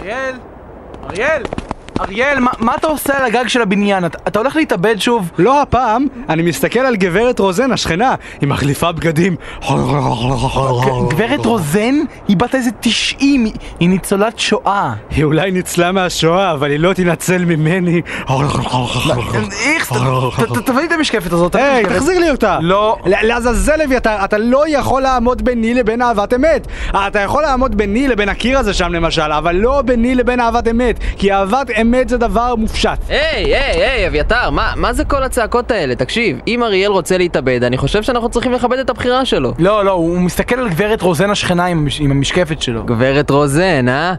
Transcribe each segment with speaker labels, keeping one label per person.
Speaker 1: אריאל? אריאל? אריאל, מה, מה אתה עושה על הגג של הבניין? אתה, אתה הולך להתאבד שוב?
Speaker 2: לא הפעם, אני מסתכל על גברת רוזן, השכנה, היא מחליפה בגדים. לא,
Speaker 1: גברת רוזן? היא בת איזה 90, היא- היא ניצולת שואה.
Speaker 2: היא אולי ניצלה מהשואה, אבל היא לא תינצל ממני.
Speaker 1: איכס, ת- ת- ת- תביא לי את המשקפת הזאת. תביא לי את
Speaker 2: לא. היי,
Speaker 1: המשקפת.
Speaker 2: תחזיר לי אותה!
Speaker 1: לא.
Speaker 2: ל- לעזאזל אביתר, אתה לא יכול לעמוד ביני לבין אהבת אמת! אה, אתה יכול לעמוד ביני לבין הקיר הזה שם למשל, אבל לא ביני לבין אהבת אמת, כי אהבת אמת זה דבר מופשט.
Speaker 3: היי, היי, היי, אביתר, מה, מה זה כל הצעקות האלה? תקשיב, אם אריאל רוצה להתאבד, אני חושב שאנחנו צריכים לכבד את הבחירה שלו.
Speaker 1: לא, לא, הוא מסתכל על גברת רוזן השכנה עם המש- עם המשקפת שלו.
Speaker 3: גברת רוזן, אה?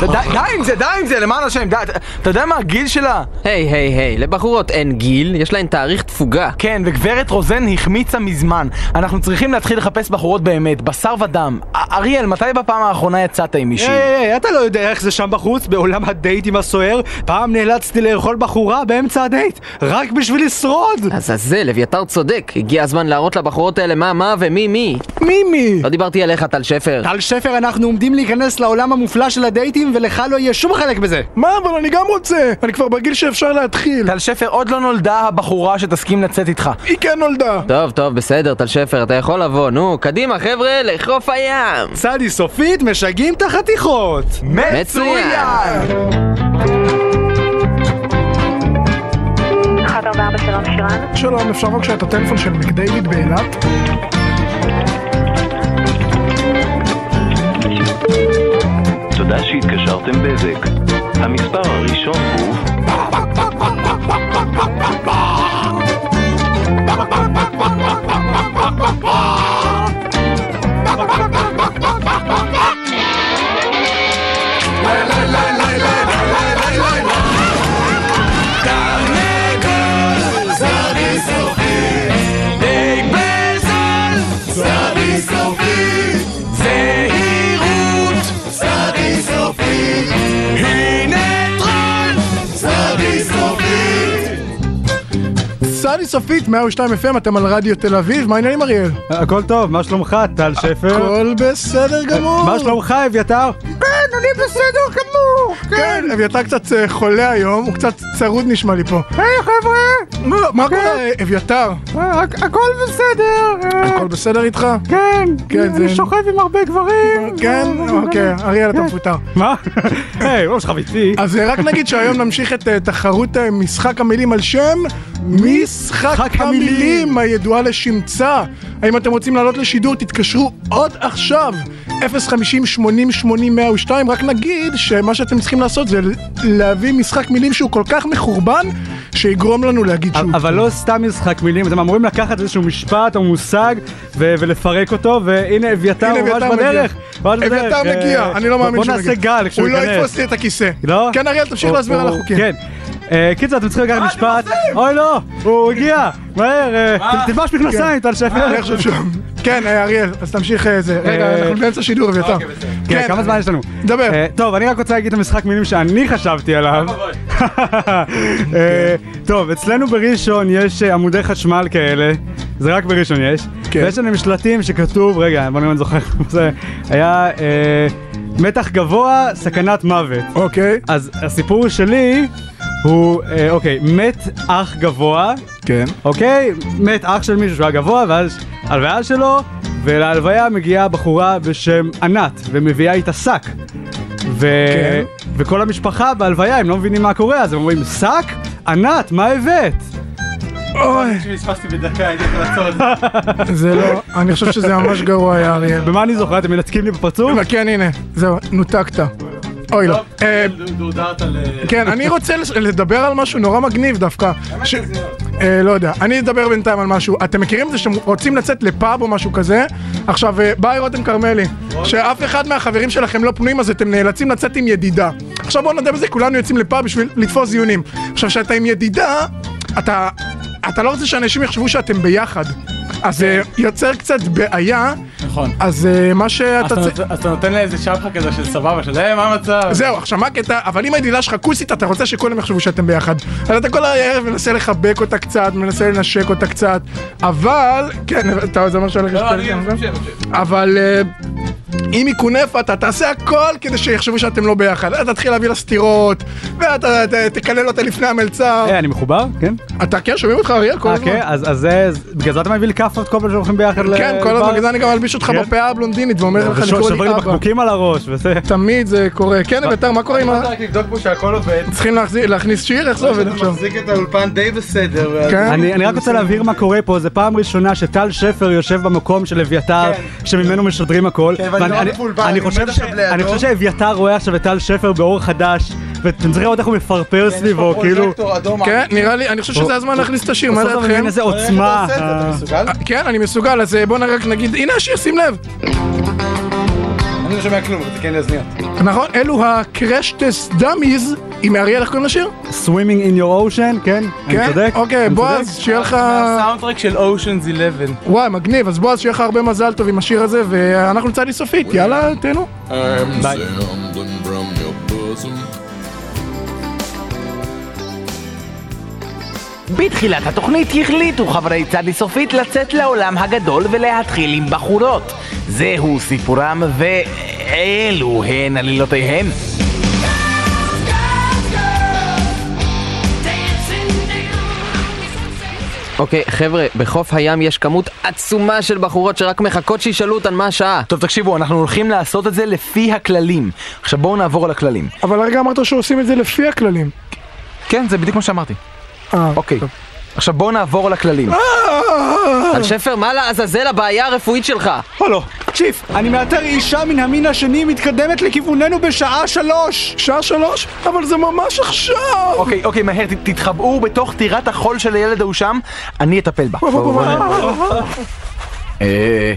Speaker 1: די די עם זה, די עם זה, למען השם, די. אתה- אתה יודע מה הגיל שלה?
Speaker 3: היי, היי, היי, לבחורות אין גיל, יש להן תאריך תפוגה.
Speaker 1: כן, וגברת רוזן החמיצה מזמן. אנחנו צריכים להתחיל לחפש בחורות באמת, בשר ודם. א- אריאל, מתי בפעם האחרונה יצאת עם מישהי?
Speaker 2: היי, היי, היי, אתה לא יודע איך זה שם בחוץ, בעולם הדייטים הסוער, פעם נאלצתי לאכול בחורה באמצע הדייט, רק בשביל לשרוד!
Speaker 3: עזאזל, אביתר צודק, הגיע הזמן להראות לבחורות האלה מה מה ומי מי.
Speaker 1: מימי!
Speaker 3: לא דיברתי עליך, טל שפר.
Speaker 2: טל שפר, אנחנו עומדים להיכנס לעולם המופלא של הדייטים, ולך לא יהיה שום חלק בזה!
Speaker 4: מה, אבל אני גם רוצה! אני כבר בגיל שאפשר להתחיל.
Speaker 1: טל שפר, עוד לא נולדה הבחורה שתסכים לצאת איתך.
Speaker 4: היא כן נולדה.
Speaker 3: טוב, טוב, בסדר, טל שפר, אתה יכול לבוא, נו, קדימה, חבר'ה, לחוף הים!
Speaker 2: צדי סופית, משגעים את החתיכות!
Speaker 3: מצוין!
Speaker 5: 144 שלום שירן,
Speaker 4: שלום, אפשר בבקשה את הטלפון של מקדייוויד באילת?
Speaker 6: תודה שהתקשרתם בזק. המספר הראשון הוא...
Speaker 4: סעדי סופית, 102 FM, אתם על רדיו תל אביב, מה העניינים אריאל?
Speaker 2: הכל טוב, מה שלומך, טל שפר?
Speaker 4: הכל בסדר גמור.
Speaker 2: מה שלומך, אביתר?
Speaker 4: כן, אני בסדר גמור. כן, אביתר קצת אה, חולה היום, הוא קצת צרוד נשמע לי פה. היי חבר'ה. מה, מה קורה, אה, אביתר?
Speaker 2: הכל בסדר.
Speaker 4: הכל בסדר איתך?
Speaker 2: כן,
Speaker 4: כן, אני זה- שוכב
Speaker 2: עם הרבה גברים.
Speaker 4: כן? אוקיי, אריאל אתה מפוטר.
Speaker 2: מה? היי, ראש חביתי.
Speaker 4: אז אה, רק נגיד שהיום נמשיך את אה, תחרות אה, משחק המילים על שם משחק
Speaker 2: משחק המילים.
Speaker 4: המילים הידועה לשמצה. האם אתם רוצים לעלות לשידור? תתקשרו עוד עכשיו. 050-80-80-102 רק נגיד שמה שאתם צריכים לעשות זה להביא משחק מילים שהוא כל כך מחורבן שיגרום לנו להגיד שהוא...
Speaker 2: אבל לא סתם משחק מילים, אתם אמורים לקחת איזשהו משפט או מושג ו- ולפרק אותו, והנה אביתר
Speaker 4: הנה,
Speaker 2: הוא ממש
Speaker 4: אביתר מגיע.
Speaker 2: בדרך. ממש בדרך.
Speaker 4: אביתר
Speaker 2: אה,
Speaker 4: מגיע, אני לא מאמין
Speaker 2: בוא
Speaker 4: שהוא מגיע.
Speaker 2: נעשה גל כשהוא
Speaker 4: הוא
Speaker 2: ייכנס.
Speaker 4: לא יתפוס לי את הכיסא.
Speaker 2: לא?
Speaker 4: כן, אריאל, תמשיך
Speaker 2: הוא-
Speaker 4: להסביר על
Speaker 2: הוא-
Speaker 4: החוקים.
Speaker 2: כן. אה, קיצר, אתם צריכים לקחת משפט. אוי לא, הוא הגיע. מהר, אה, תלבש
Speaker 4: כן.
Speaker 2: מכנסיים, טל שפר.
Speaker 4: לך שם. כן, אה, אריאל, אז תמשיך אה, זה. רגע,
Speaker 2: אה,
Speaker 4: אנחנו באמצע שידור, אביתר.
Speaker 2: כן, כמה זמן יש לנו?
Speaker 4: דבר.
Speaker 2: אה, טוב, אני רק רוצה להגיד את המשחק מילים שאני חשבתי עליו. אה, טוב, אצלנו בראשון יש אה, עמודי חשמל כאלה, זה רק בראשון יש.
Speaker 4: כן.
Speaker 2: ויש לנו שלטים שכתוב, רגע, בוא נראה אם אני זוכר, זה היה אה, מתח גבוה, סכנת מוות.
Speaker 4: אוקיי.
Speaker 2: אז הסיפור שלי הוא, אה, אוקיי, מת אח גבוה,
Speaker 4: כן.
Speaker 2: אוקיי? מת אח של מישהו שהיה גבוה, ואז הלוויה שלו, ולהלוויה מגיעה בחורה בשם ענת, ומביאה איתה שק. ו...
Speaker 4: כן.
Speaker 2: וכל המשפחה בהלוויה, הם לא מבינים מה קורה, אז הם אומרים, שק? ענת, מה הבאת?
Speaker 4: אוי,
Speaker 2: פספסתי בדקה, הייתי יכול לעצור
Speaker 4: זה לא, אני חושב שזה ממש גרוע היה אריאל.
Speaker 2: במה אני זוכר? אתם מנתקים לי בפרצוף?
Speaker 4: כן, הנה, זהו, נותקת. אוי לא. אה, כן, אני רוצה לש- לדבר על משהו נורא מגניב דווקא. ש- אה, לא יודע, אני אדבר בינתיים על משהו. אתם מכירים את זה שאתם רוצים לצאת לפאב או משהו כזה? עכשיו, אה, ביי רותם כרמלי, שאף אחד מהחברים שלכם לא פנויים, אז אתם נאלצים לצאת עם ידידה. עכשיו בואו נודה בזה, כולנו יוצאים לפאב בשביל לתפוס זיונים. עכשיו, כשאתה עם ידידה, אתה... אתה לא רוצה שאנשים יחשבו שאתם ביחד. אז זה יוצר קצת בעיה.
Speaker 7: נכון.
Speaker 4: אז אה, מה שאתה
Speaker 7: אז
Speaker 4: צריך...
Speaker 7: אתה נות- אז אתה נותן לה איזה שפחה כזה של סבבה, של היי, מה המצב?
Speaker 4: זהו, עכשיו מה הקטע? אבל אם הידידה שלך כוסית, אתה רוצה שכולם יחשבו שאתם ביחד. אז אתה כל הערב מנסה לחבק אותה קצת, מנסה לנשק אותה קצת, אבל... כן, אתה זה מה שהולך
Speaker 7: לא,
Speaker 4: לשתות
Speaker 7: אני
Speaker 4: גם,
Speaker 7: ממשיך,
Speaker 4: אבל... אה, אם היא כונפת, אתה תעשה הכל כדי שיחשבו שאתם לא ביחד. אתה תתחיל להביא לה סטירות, ואתה ת- תקלל אותה לפני המלצר.
Speaker 2: היי, אני מחובר? כן?
Speaker 4: אתה כן, שומעים אותך אריאל כל
Speaker 2: אה,
Speaker 4: הזמן.
Speaker 2: כן? אז אז זה... זה- בגלל זה אתה מביא לי כאפות כל פעם שהולכים ביחד ל...
Speaker 4: כן, כל הזמן, בגלל זה אני גם אלביש אותך
Speaker 2: כן.
Speaker 4: בפאה הבלונדינית ואומר לך לקרוא
Speaker 2: ושובר
Speaker 4: לי
Speaker 2: לי
Speaker 4: אבא.
Speaker 2: בקבוקים על הראש וזה...
Speaker 4: תמיד זה קורה. כן, אביתר, מה קורה עם ה...
Speaker 8: רק לבדוק פה שהכל עובד. לא,
Speaker 4: צריכים להחזיר- להכניס שיר? איך זה עובד עכשיו?
Speaker 8: מחזיק את האולפן די בסדר. ואז-
Speaker 4: כן.
Speaker 2: אני, אני רק רוצה להבהיר מה קורה פה, זה פעם ראשונה שטל שפר יושב במקום של אביתר, שממנו משדרים הכל.
Speaker 8: כן, ואני
Speaker 2: ואני-
Speaker 8: מאוד
Speaker 2: אני-
Speaker 8: מבולבל,
Speaker 2: אני
Speaker 8: אני
Speaker 2: חושב
Speaker 8: עומד
Speaker 2: ש-
Speaker 8: עכשיו לידו.
Speaker 2: אני חושב שאביתר רואה עכשיו את טל שפר באור חדש, ואתם צריכים לראות איך הוא מפרפר
Speaker 8: כן, יש פה
Speaker 2: סביבו, כאילו...
Speaker 8: פרוז'קטור אדום.
Speaker 4: כן, נראה לי, אני חושב שזה הזמן להכניס את השיר, מה
Speaker 2: בסוף אתה
Speaker 4: דעתכם?
Speaker 2: מבין איזה
Speaker 8: איך אתה
Speaker 2: עוצמה.
Speaker 8: לא עושה את זה? אתה מסוגל?
Speaker 4: כן, אני מסוגל, אז אה, בוא נ- רק נגיד, הנה השיר, שים לב.
Speaker 8: אני לא שומע כלום, אבל זה כן יזניע אותי.
Speaker 4: נכון, אלו הקרשטס דאמיז, עם אריאל, איך קוראים לשיר?
Speaker 2: Swimming in your ocean, כן? אני
Speaker 4: כן?
Speaker 2: צודק?
Speaker 4: אוקיי,
Speaker 2: אני
Speaker 4: בועז,
Speaker 2: צודק?
Speaker 4: שיהיה לך...
Speaker 8: הסאונדטרק של Ocean's 11.
Speaker 4: וואי, מגניב, אז בועז, שיהיה לך הרבה מזל טוב עם השיר הזה, ואנחנו נצא לי סופית, יאללה, תהנו.
Speaker 9: I'm
Speaker 2: Bye.
Speaker 9: sounding from your bosom.
Speaker 10: בתחילת התוכנית החליטו חברי צד סופית לצאת לעולם הגדול ולהתחיל עם בחורות. זהו סיפורם ואלו הן עלילותיהם.
Speaker 3: אוקיי, חבר'ה, בחוף הים יש כמות עצומה של בחורות שרק מחכות שישאלו אותן מה השעה.
Speaker 10: טוב, תקשיבו, אנחנו הולכים לעשות את זה לפי הכללים. עכשיו בואו נעבור על הכללים.
Speaker 4: אבל הרגע אמרת שעושים את זה לפי הכללים.
Speaker 10: כן, זה בדיוק מה שאמרתי.
Speaker 4: אה,
Speaker 10: אוקיי. עכשיו בואו נעבור על הכללים.
Speaker 3: על שפר, מה לעזאזל הבעיה הרפואית שלך?
Speaker 2: הולו, צ'יף, אני מאתר אישה מן המין השני מתקדמת לכיווננו בשעה שלוש!
Speaker 4: שעה שלוש? אבל זה ממש עכשיו!
Speaker 10: אוקיי, אוקיי, מהר, ת- תתחבאו בתוך טירת החול של הילד ההוא שם, אני אטפל בה. אה,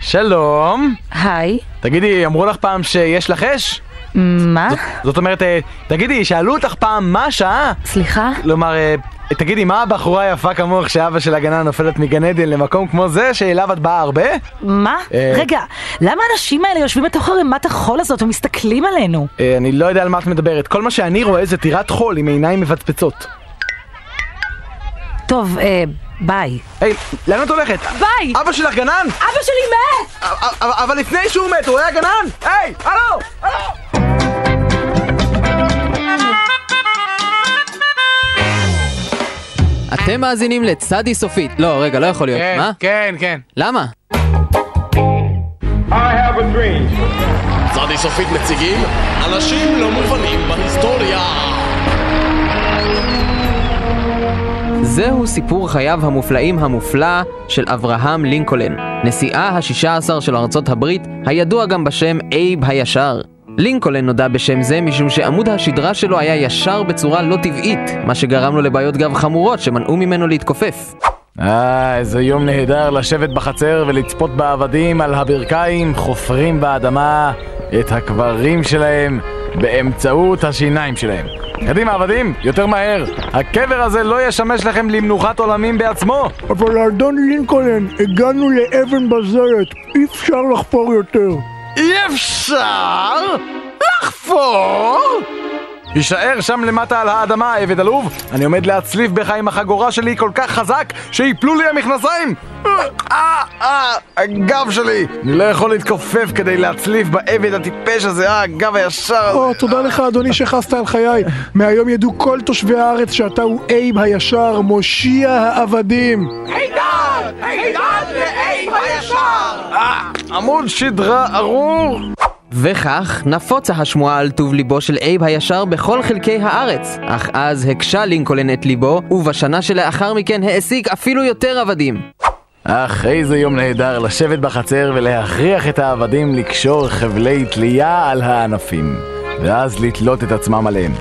Speaker 10: שלום.
Speaker 11: היי,
Speaker 10: תגידי, אמרו לך פעם שיש לך אש?
Speaker 11: מה?
Speaker 10: זאת אומרת, אה, תגידי, שאלו אותך פעם מה שעה?
Speaker 11: סליחה?
Speaker 10: כלומר, אה, תגידי, מה הבחורה היפה כמוך שאבא של הגנה נופלת מגן עדן למקום כמו זה שאליו את באה הרבה?
Speaker 11: מה?
Speaker 10: אה.
Speaker 11: רגע, למה האנשים האלה יושבים בתוך ערימת החול הזאת ומסתכלים עלינו?
Speaker 10: אה, אני לא יודע על מה את מדברת. כל מה שאני רואה זה טירת חול עם עיניים מבצבצות.
Speaker 11: טוב, אה, ביי.
Speaker 10: היי, לאן את הולכת?
Speaker 11: ביי!
Speaker 10: אבא שלך גנן?
Speaker 11: אבא שלי מת!
Speaker 10: א- א- אבל לפני שהוא מת הוא היה גנן? היי, הלו! הלו!
Speaker 3: אתם מאזינים לצדי סופית. לא, רגע, לא יכול להיות. מה?
Speaker 8: כן, כן.
Speaker 3: למה?
Speaker 12: צעדי סופית מציגים אנשים לא מובנים בהיסטוריה.
Speaker 3: זהו סיפור חייו המופלאים המופלא של אברהם לינקולן, נשיאה ה-16 של ארצות הברית, הידוע גם בשם אייב הישר. לינקולן נודע בשם זה משום שעמוד השדרה שלו היה ישר בצורה לא טבעית, מה שגרם לו לבעיות גב חמורות שמנעו ממנו להתכופף.
Speaker 10: אה, איזה יום נהדר לשבת בחצר ולצפות בעבדים על הברכיים חופרים באדמה את הקברים שלהם באמצעות השיניים שלהם. קדימה עבדים, יותר מהר. הקבר הזה לא ישמש לכם למנוחת עולמים בעצמו.
Speaker 4: אבל אדון לינקולן, הגענו לאבן בזלת, אי אפשר לחפור יותר.
Speaker 10: אי אפשר לחפור! הישאר שם למטה על האדמה, עבד עלוב. אני עומד להצליף בך עם החגורה שלי כל כך חזק, שיפלו לי המכנסיים! אה, אה, אה, הגב שלי! אני לא יכול להתכופף כדי להצליף בעבד הטיפש הזה, אה, הגב הישר הזה.
Speaker 4: או, תודה לך אדוני שחסת על חיי. מהיום ידעו כל תושבי הארץ שאתה הוא אייב הישר, מושיע העבדים.
Speaker 10: עמוד שדרה ארור!
Speaker 3: וכך נפוצה השמועה על טוב ליבו של אייב הישר בכל חלקי הארץ. אך אז הקשה לינקולן את ליבו, ובשנה שלאחר מכן העסיק אפילו יותר עבדים.
Speaker 10: אך איזה יום נהדר לשבת בחצר ולהכריח את העבדים לקשור חבלי תלייה על הענפים, ואז לתלות את עצמם עליהם,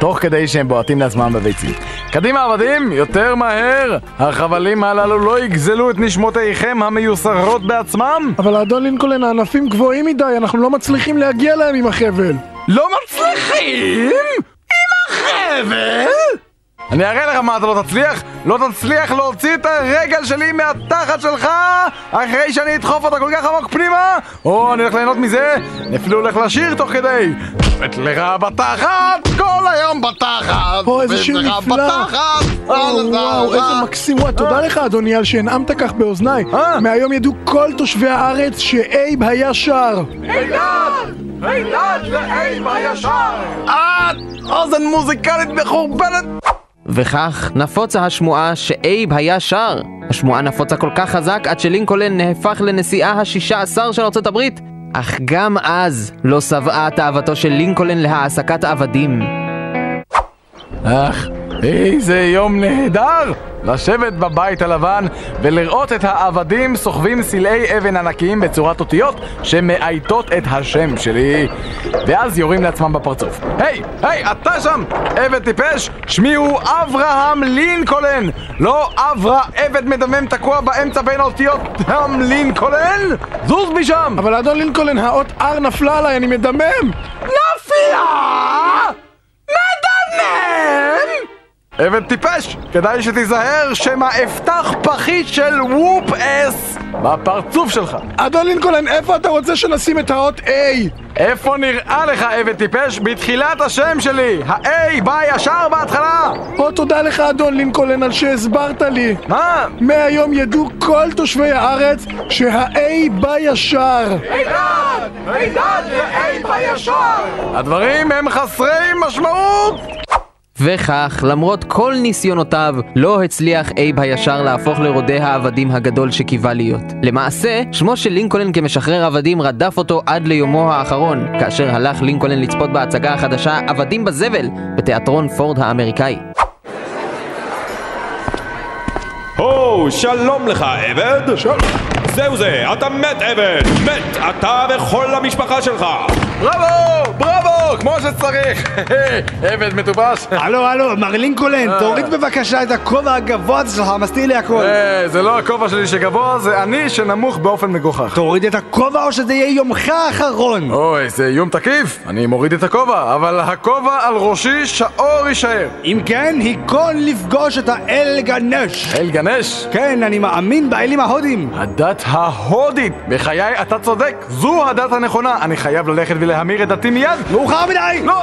Speaker 10: תוך כדי שהם בועטים לעצמם בביצים. קדימה עבדים, יותר מהר! החבלים הללו לא יגזלו את נשמותיכם המיוסרות בעצמם!
Speaker 4: אבל האדון לינקולן, הענפים גבוהים מדי, אנחנו לא מצליחים להגיע להם עם החבל.
Speaker 10: לא מצליחים? עם החבל? אני אראה לך מה אתה לא תצליח. לא תצליח להוציא את הרגל שלי מהתחת שלך אחרי שאני אדחוף אותה כל כך עמוק פנימה. או, אני הולך ליהנות מזה. אני אפילו הולך לשיר תוך כדי. אצלך בתחת, כל היום בתחת.
Speaker 4: או, איזה שיר
Speaker 10: ואצלך
Speaker 4: נפלא. אה,
Speaker 10: בתחת.
Speaker 4: וואו, וואו, איזה מקסים. וואי, תודה לך, אדוני, על שהנעמת כך באוזניי.
Speaker 10: אה.
Speaker 4: מהיום ידעו כל תושבי הארץ שאייב היה שר.
Speaker 10: אילת! אילת לאיב הישר! את אוזן מוזיקלית מחורבנת!
Speaker 3: וכך נפוצה השמועה שאייב היה שר. השמועה נפוצה כל כך חזק עד שלינקולן נהפך לנשיאה השישה עשר של ארצות הברית. אך גם אז לא שבעה תאוותו של לינקולן להעסקת עבדים.
Speaker 10: אך, איזה יום נהדר! לשבת בבית הלבן ולראות את העבדים סוחבים סלעי אבן ענקיים בצורת אותיות שמאייתות את השם שלי ואז יורים לעצמם בפרצוף. היי, היי, אתה שם! עבד טיפש! שמי הוא אברהם לינקולן! לא אברה עבד מדמם תקוע באמצע בין האותיות תם לינקולן! זוז משם!
Speaker 4: אבל אדון לינקולן, האות R נפלה עליי, אני מדמם!
Speaker 10: נפילה! מדמם! אבן טיפש, כדאי שתיזהר שמא אפתח פחית של וופ אס בפרצוף שלך.
Speaker 4: אדון לינקולן, איפה אתה רוצה שנשים את האות A?
Speaker 10: איפה נראה לך אבן טיפש? בתחילת השם שלי! ה-A בא ישר בהתחלה!
Speaker 4: או, תודה לך, אדון לינקולן, על שהסברת לי.
Speaker 10: מה?
Speaker 4: מהיום ידעו כל תושבי הארץ שה-A בא ישר.
Speaker 10: עידן! עידן ל-A בא ישר! הדברים הם חסרי משמעות!
Speaker 3: וכך, למרות כל ניסיונותיו, לא הצליח אייב הישר להפוך לרודה העבדים הגדול שקיווה להיות. למעשה, שמו של לינקולן כמשחרר עבדים רדף אותו עד ליומו האחרון, כאשר הלך לינקולן לצפות בהצגה החדשה "עבדים בזבל" בתיאטרון פורד האמריקאי.
Speaker 13: הו, שלום לך עבד! זהו זה, אתה מת עבד! מת! אתה וכל המשפחה שלך!
Speaker 10: בראבו! בראבו! כמו שצריך! עבד מטופש!
Speaker 2: הלו, הלו, מר לינקולן, תוריד בבקשה את הכובע הגבוה הזה שלך, מסתיר לי הכל.
Speaker 10: אה, זה לא הכובע שלי שגבוה, זה אני שנמוך באופן מגוחך.
Speaker 2: תוריד את הכובע או שזה יהיה יומך
Speaker 4: אה.
Speaker 2: האחרון.
Speaker 10: אוי, זה איום תקיף, אני מוריד את הכובע, אבל הכובע על ראשי שעור יישאר.
Speaker 2: אם כן, היכון לפגוש את האל גנש.
Speaker 10: אל גנש,
Speaker 2: כן, אני מאמין באלים ההודים.
Speaker 4: אה.
Speaker 10: הדת ההודית. בחיי, אתה צודק, זו הדת הנכונה. אני חייב ללכת ולהמיר את דתי מיד.
Speaker 2: מאוחר מדי!
Speaker 10: לא!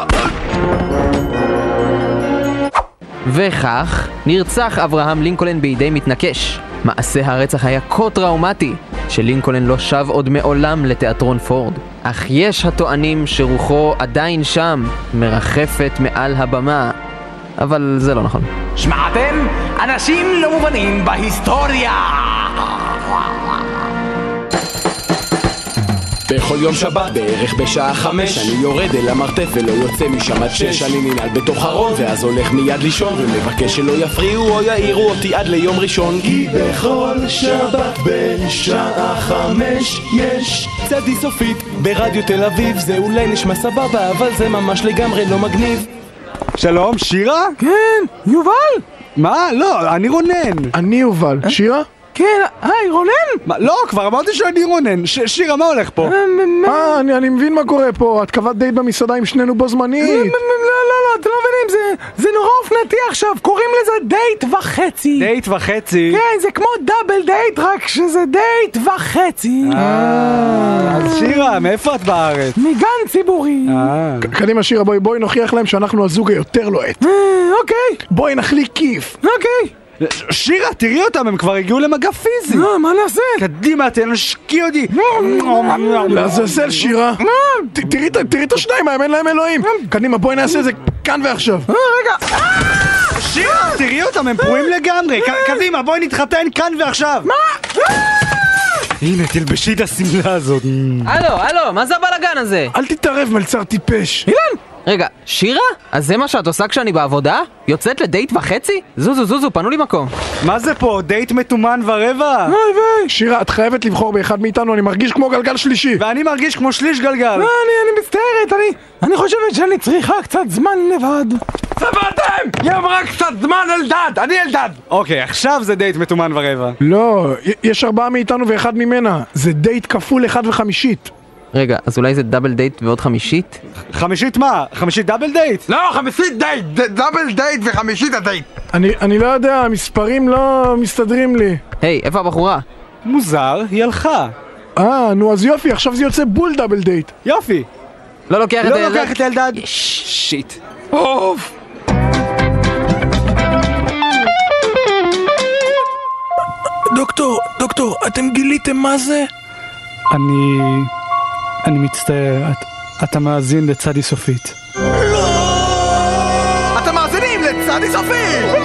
Speaker 3: וכך, נרצח אברהם לינקולן בידי מתנקש. מעשה הרצח היה כה טראומטי, שלינקולן לא שב עוד מעולם לתיאטרון פורד. אך יש הטוענים שרוחו עדיין שם, מרחפת מעל הבמה. אבל זה לא נכון.
Speaker 14: שמעתם? אנשים לא מובנים בהיסטוריה!
Speaker 15: בכל יום שבת, בערך בשעה חמש, אני יורד אל המרתף ולא יוצא משם עד שש. אני ננעל בתוך ארון, ואז הולך מיד לישון, ומבקש שלא יפריעו או יעירו אותי עד ליום ראשון. כי בכל שבת בשעה חמש יש צדי סופית ברדיו תל אביב, זה אולי נשמע סבבה, אבל זה ממש לגמרי לא מגניב.
Speaker 2: שלום, שירה?
Speaker 10: כן, יובל!
Speaker 2: מה? לא, אני רונן.
Speaker 15: אה.
Speaker 4: אני יובל. שירה?
Speaker 10: כן, היי, רונן!
Speaker 2: מה, לא, כבר אמרתי שאני רונן. ש- שירה, מה הולך פה?
Speaker 4: אה, אני אני מבין מה קורה פה, את קבעת דייט במסעדה עם שנינו בו זמנית.
Speaker 10: לא, לא, לא, אתם לא מבינים, זה- זה נורא אופנתי עכשיו, קוראים לזה דייט וחצי.
Speaker 2: דייט וחצי.
Speaker 10: כן, זה כמו דאבל דייט, רק שזה דייט וחצי.
Speaker 2: אה. אז שירה, מאיפה את בארץ?
Speaker 10: מגן ציבורי.
Speaker 2: אה.
Speaker 4: קדימה, שירה, בואי בואי נוכיח להם שאנחנו הזוג היותר לוהט.
Speaker 10: אוקיי,
Speaker 4: בואי נחליק כיף.
Speaker 10: אוקיי.
Speaker 2: שירה, תראי אותם, הם כבר הגיעו למגע פיזי.
Speaker 10: אה, מה נעשה? לא,
Speaker 2: קדימה, תנשקי אותי.
Speaker 4: לעזאזל, שירה. ת- תראי את- תראי את השניים, האמן להם אלוהים. קדימה, בואי נעשה את זה כאן ועכשיו.
Speaker 2: שירה, תראי אותם, הם פרועים לגמרי.
Speaker 10: אה.
Speaker 2: ק- קדימה, בואי נתחתן כאן ועכשיו. מה?
Speaker 10: אה!
Speaker 2: הנה, תלבשי את השמלה הזאת.
Speaker 3: הלו, הלו, מה זה הבלאגן הזה?
Speaker 4: אל תתערב, מלצר טיפש.
Speaker 3: רגע, שירה? אז זה מה שאת עושה כשאני בעבודה? יוצאת לדייט וחצי? זוזו, זוזו, פנו לי מקום.
Speaker 2: מה זה פה, דייט מתומן
Speaker 10: אה.
Speaker 2: ורבע?
Speaker 4: שירה, את חייבת לבחור באחד מאיתנו, אני מרגיש כמו גלגל שלישי.
Speaker 2: ואני מרגיש כמו שליש גלגל.
Speaker 10: לא, אני, אני מצטערת, אני, אני חושבת שאני צריכה קצת זמן לבד. צבעתם! היא אמרה קצת זמן אלדד, אני אלדד!
Speaker 2: אוקיי, עכשיו זה דייט מתומן ורבע.
Speaker 4: לא, י- יש ארבעה מאיתנו ואחד ממנה. זה דייט כפול אחד וחמישית.
Speaker 3: רגע, אז אולי זה דאבל דייט ועוד חמישית?
Speaker 2: חמישית מה? חמישית דאבל דייט?
Speaker 16: לא, חמישית דייט! ד- דאבל דייט וחמישית הדייט!
Speaker 4: אני, אני לא יודע, המספרים לא מסתדרים לי.
Speaker 3: היי, איפה הבחורה?
Speaker 2: מוזר, היא הלכה.
Speaker 4: אה, נו אז יופי, עכשיו זה יוצא בול דאבל דייט.
Speaker 2: יופי.
Speaker 3: לא לוקח
Speaker 2: לא לוקח את הילדה... שיט.
Speaker 16: אוף!
Speaker 17: דוקטור, דוקטור, אתם גיליתם מה זה?
Speaker 2: אני... אני מצטער, את- אתה מאזין לצדי סופית.
Speaker 17: לא!
Speaker 16: אתם מאזינים לצדי סופי!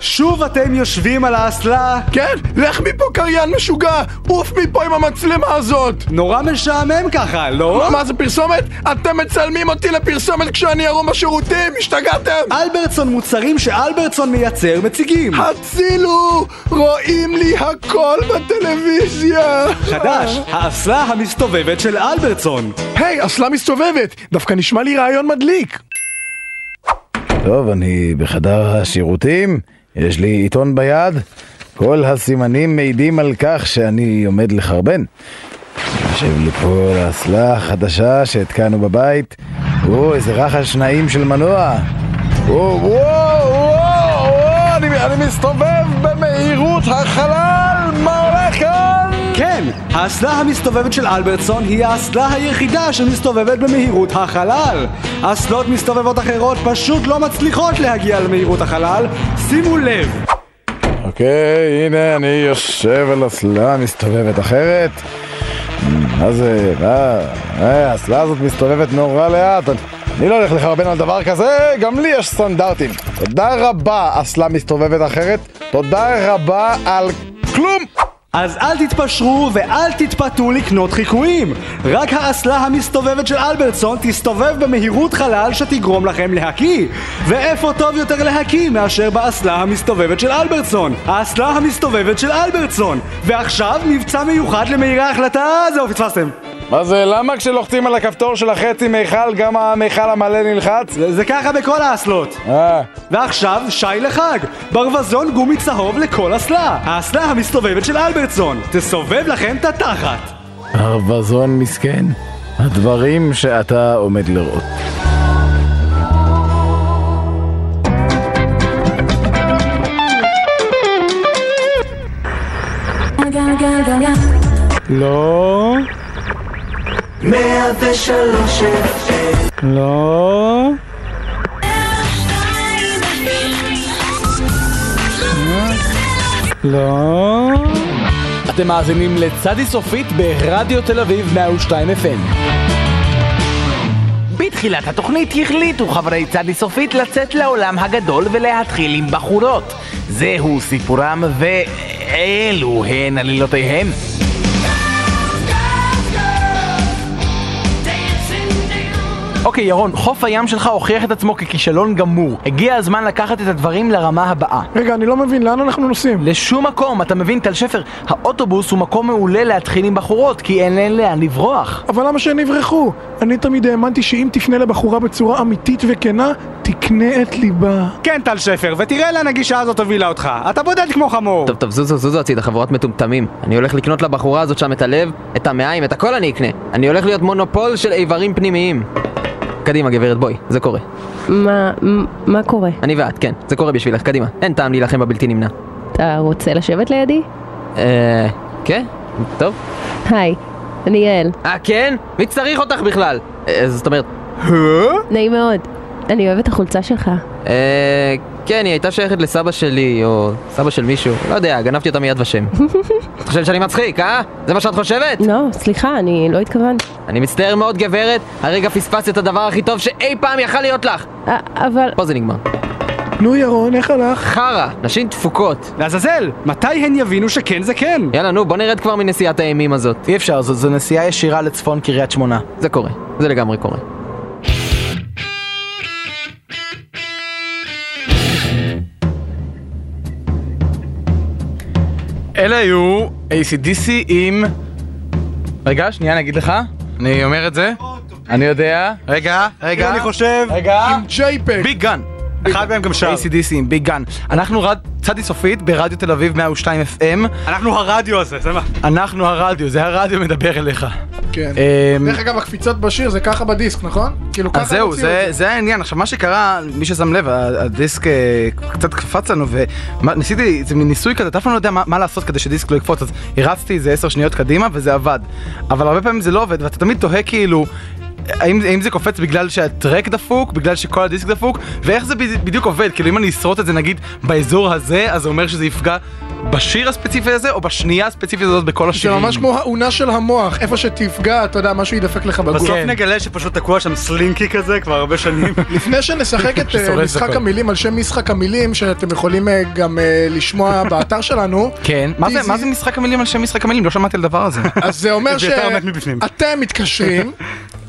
Speaker 2: שוב אתם יושבים על האסלה?
Speaker 4: כן, לך מפה קריין משוגע! עוף מפה עם המצלמה הזאת!
Speaker 2: נורא משעמם ככה, לא?
Speaker 4: מה זה פרסומת? אתם מצלמים אותי לפרסומת כשאני ערום בשירותים? השתגעתם?
Speaker 2: אלברטסון מוצרים שאלברטסון מייצר מציגים.
Speaker 4: הצילו! רואים לי הכל בטלוויזיה!
Speaker 2: חדש, האסלה המסתובבת של אלברטסון.
Speaker 4: היי, אסלה מסתובבת! דווקא נשמע לי רעיון מדליק!
Speaker 18: טוב, אני בחדר השירותים, יש לי עיתון ביד, כל הסימנים מעידים על כך שאני עומד לחרבן. יושב לי פה על האסלה החדשה שהתקנו בבית, או, איזה רחש נעים של מנוע. או, וואו, וואו, וואו, אני, אני מסתובב במהירות החלל, מה הולך כאן?
Speaker 2: כן, האסלה המסתובבת של אלברטסון היא האסלה היחידה שמסתובבת במהירות החלל. אסלות מסתובבות אחרות פשוט לא מצליחות להגיע למהירות החלל. שימו לב,
Speaker 18: אוקיי, הנה אני יושב על אסלה מסתובבת אחרת. מה זה, מה, אה, האסלה הזאת מסתובבת נורא לאט. אני- אני לא הולך לחרבן על דבר כזה, גם לי יש סטנדרטים. תודה רבה, אסלה מסתובבת אחרת. תודה רבה על כלום.
Speaker 2: אז אל תתפשרו ואל תתפתו לקנות חיקויים. רק האסלה המסתובבת של אלברטסון תסתובב במהירות חלל שתגרום לכם להקיא. ואיפה טוב יותר להקיא מאשר באסלה המסתובבת של אלברטסון? האסלה המסתובבת של אלברטסון. ועכשיו מבצע מיוחד למהירי ההחלטה, זהו, פספסתם.
Speaker 18: מה זה, למה כשלוחצים על הכפתור של החצי מיכל, גם המיכל המלא נלחץ?
Speaker 2: זה, זה ככה בכל האסלות.
Speaker 18: אה.
Speaker 2: ועכשיו שי לחג, ברווזון גומי צהוב לכל אסלה. האסלה המסתובבת של אלברטסון. תסובב לכם את התחת.
Speaker 18: ברווזון מסכן, הדברים שאתה עומד לראות.
Speaker 2: לא.
Speaker 16: 103
Speaker 2: לא. לא.
Speaker 19: אתם מאזינים לצדי סופית ברדיו תל אביב 102 FM.
Speaker 20: בתחילת התוכנית החליטו חברי צדי סופית לצאת לעולם הגדול ולהתחיל עם בחורות. זהו סיפורם ואלו הן עלילותיהם.
Speaker 10: אוקיי, ירון, חוף הים שלך הוכיח את עצמו ככישלון גמור. הגיע הזמן לקחת את הדברים לרמה הבאה.
Speaker 4: רגע, אני לא מבין, לאן אנחנו נוסעים?
Speaker 10: לשום מקום, אתה מבין, טל שפר, האוטובוס הוא מקום מעולה להתחיל עם בחורות, כי אין להן לאן לברוח.
Speaker 4: אבל למה שהן יברחו? אני תמיד האמנתי שאם תפנה לבחורה בצורה אמיתית וכנה, תקנה את ליבה.
Speaker 2: כן, טל שפר, ותראה לאן הגישה הזאת הובילה אותך. אתה בודד כמו חמור.
Speaker 3: טוב, טוב, זוזו, זוזו הצידה, חבורת מטומטמים. אני הולך לקנות לבחורה הזאת שם את הלב, את המעיים, את הכל אני אקנה. אני הולך להיות מונופול של איברים פנימיים. קדימה, גברת, בואי, זה קורה.
Speaker 21: מה, מה קורה?
Speaker 3: אני ואת, כן, זה קורה בשבילך, קדימה. אין טעם להילחם בבלתי נמנע.
Speaker 21: אתה רוצה לשבת לידי?
Speaker 3: אה... כן? טוב.
Speaker 21: היי, אני יעל.
Speaker 3: אה, כן? מי צריך אותך בכלל? אה, זאת אומרת...
Speaker 21: נעים מאוד. אני אוהבת החולצה שלך.
Speaker 3: אה... כן, היא הייתה שייכת לסבא שלי, או סבא של מישהו. לא יודע, גנבתי אותה מיד ושם. את חושבת שאני מצחיק, אה? זה מה שאת חושבת?
Speaker 21: לא, סליחה, אני לא התכוונתי.
Speaker 3: אני מצטער מאוד, גברת, הרגע פספסת את הדבר הכי טוב שאי פעם יכל להיות לך!
Speaker 21: אה, אבל...
Speaker 3: פה זה נגמר.
Speaker 4: נו, ירון, איך הלך?
Speaker 3: חרא, נשים דפוקות.
Speaker 2: לעזאזל, מתי הן יבינו שכן זה כן?
Speaker 3: יאללה, נו, בוא נרד כבר מנסיעת האימים הזאת.
Speaker 10: אי אפשר, זו, זו נסיעה ישירה לצפון קריית שמונה.
Speaker 3: זה קורה, זה לגמרי קורה.
Speaker 16: אלה היו ACDC עם... רגע, שנייה, אני אגיד לך. אני אומר את זה. אני יודע. רגע, רגע.
Speaker 2: אני חושב.
Speaker 16: רגע. עם
Speaker 4: JPEG.
Speaker 16: ביג גן.
Speaker 2: אחד מהם גם שר.
Speaker 16: ACDC עם ביג גן. אנחנו רד...
Speaker 10: צדי סופית ברדיו תל אביב 102 FM.
Speaker 2: אנחנו הרדיו הזה, זה מה.
Speaker 10: אנחנו הרדיו, זה הרדיו מדבר אליך.
Speaker 4: כן.
Speaker 16: אה,
Speaker 10: אמ,
Speaker 4: דרך אגב, הקפיצות בשיר זה ככה בדיסק, נכון? כאילו ככה
Speaker 10: אז זהו,
Speaker 4: המציאו
Speaker 10: זה,
Speaker 4: את
Speaker 10: זה העניין. עכשיו, מה שקרה, מי ששם לב, ה- הדיסק אה, קצת קפץ לנו, וניסיתי, זה מין ניסוי כזה, אתה אף פעם לא יודע מה, מה לעשות כדי שדיסק לא יקפוץ, אז הרצתי איזה עשר שניות קדימה, וזה עבד. אבל הרבה פעמים זה לא עובד, ואתה תמיד תוהה כאילו... האם, האם זה קופץ בגלל שהטרק דפוק, בגלל שכל הדיסק דפוק, ואיך זה בד- בדיוק עובד? כאילו אם אני אשרוט את זה נגיד באזור הזה, אז זה אומר שזה יפגע בשיר הספציפי הזה, או בשנייה הספציפית הזאת בכל
Speaker 4: זה
Speaker 10: השירים.
Speaker 4: ממש כמו האונה של המוח, איפה שתפגע, אתה יודע, משהו ידפק לך בגוף.
Speaker 2: בסוף נגלה שפשוט תקוע שם סלינקי כזה כבר הרבה שנים.
Speaker 4: לפני שנשחק את אה,
Speaker 2: ששורף את
Speaker 4: משחק
Speaker 2: הכל.
Speaker 4: המילים על שם משחק המילים, שאתם יכולים אה, גם אה, לשמוע באתר שלנו,
Speaker 10: כן. מה זה, מה זה משחק המילים על שם משחק המילים? לא שמעתי על הדבר הזה.
Speaker 4: אז זה אומר שאתם מתקשרים,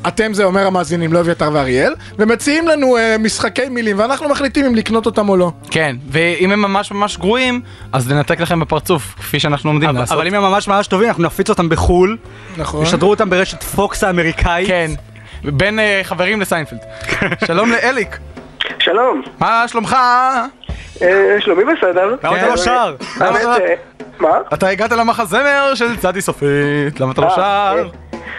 Speaker 4: אתם זה אומר המאזינים, לא אביתר ואריאל, ומציעים לנו אה, משחקי מילים, ואנחנו מחליטים אם לקנות אותם או לא.
Speaker 10: כן, ואם הם ממש ממש גרועים, אז ננתק לכם בפרצוף, כפי שאנחנו עומדים לעשות.
Speaker 2: אבל אם הם ממש ממש טובים, אנחנו נפיץ אותם בחו"ל.
Speaker 4: נכון.
Speaker 2: ישדרו אותם ברשת פוקס האמריקאית.
Speaker 10: כן. בין אה, חברים לסיינפלד. שלום לאליק.
Speaker 11: שלום.
Speaker 10: מה שלומך?
Speaker 11: אה, שלומי בסדר.
Speaker 10: למה אתה
Speaker 11: כן.
Speaker 10: לא שר?
Speaker 11: האמת,
Speaker 10: למה אתה-
Speaker 11: אה, מה?
Speaker 10: אתה הגעת למחזמר של צדי סופית, למה אתה לא
Speaker 11: אה,
Speaker 10: שר?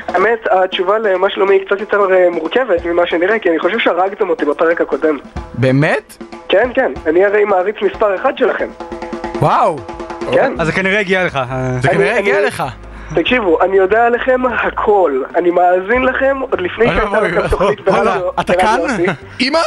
Speaker 11: האמת, התשובה למה שלומי היא קצת יותר אה, מורכבת ממה שנראה, כי אני חושב שהרגתם אותי בפרק הקודם.
Speaker 10: באמת?
Speaker 11: כן, כן, אני הרי מעריץ מספר אחד שלכם.
Speaker 10: וואו.
Speaker 11: כן.
Speaker 2: אז זה כנראה הגיע לך.
Speaker 11: אני- אני- תקשיבו, אני יודע עליכם הכל. אני מאזין לכם עוד לפני
Speaker 2: אוי,
Speaker 11: שהייתה
Speaker 2: אוי,
Speaker 11: לכם
Speaker 2: אוי,
Speaker 11: תוכנית
Speaker 2: אוי,
Speaker 11: ברדיו
Speaker 2: אתה
Speaker 11: ברדיו
Speaker 2: כאן?
Speaker 11: ארצי.
Speaker 4: אמא?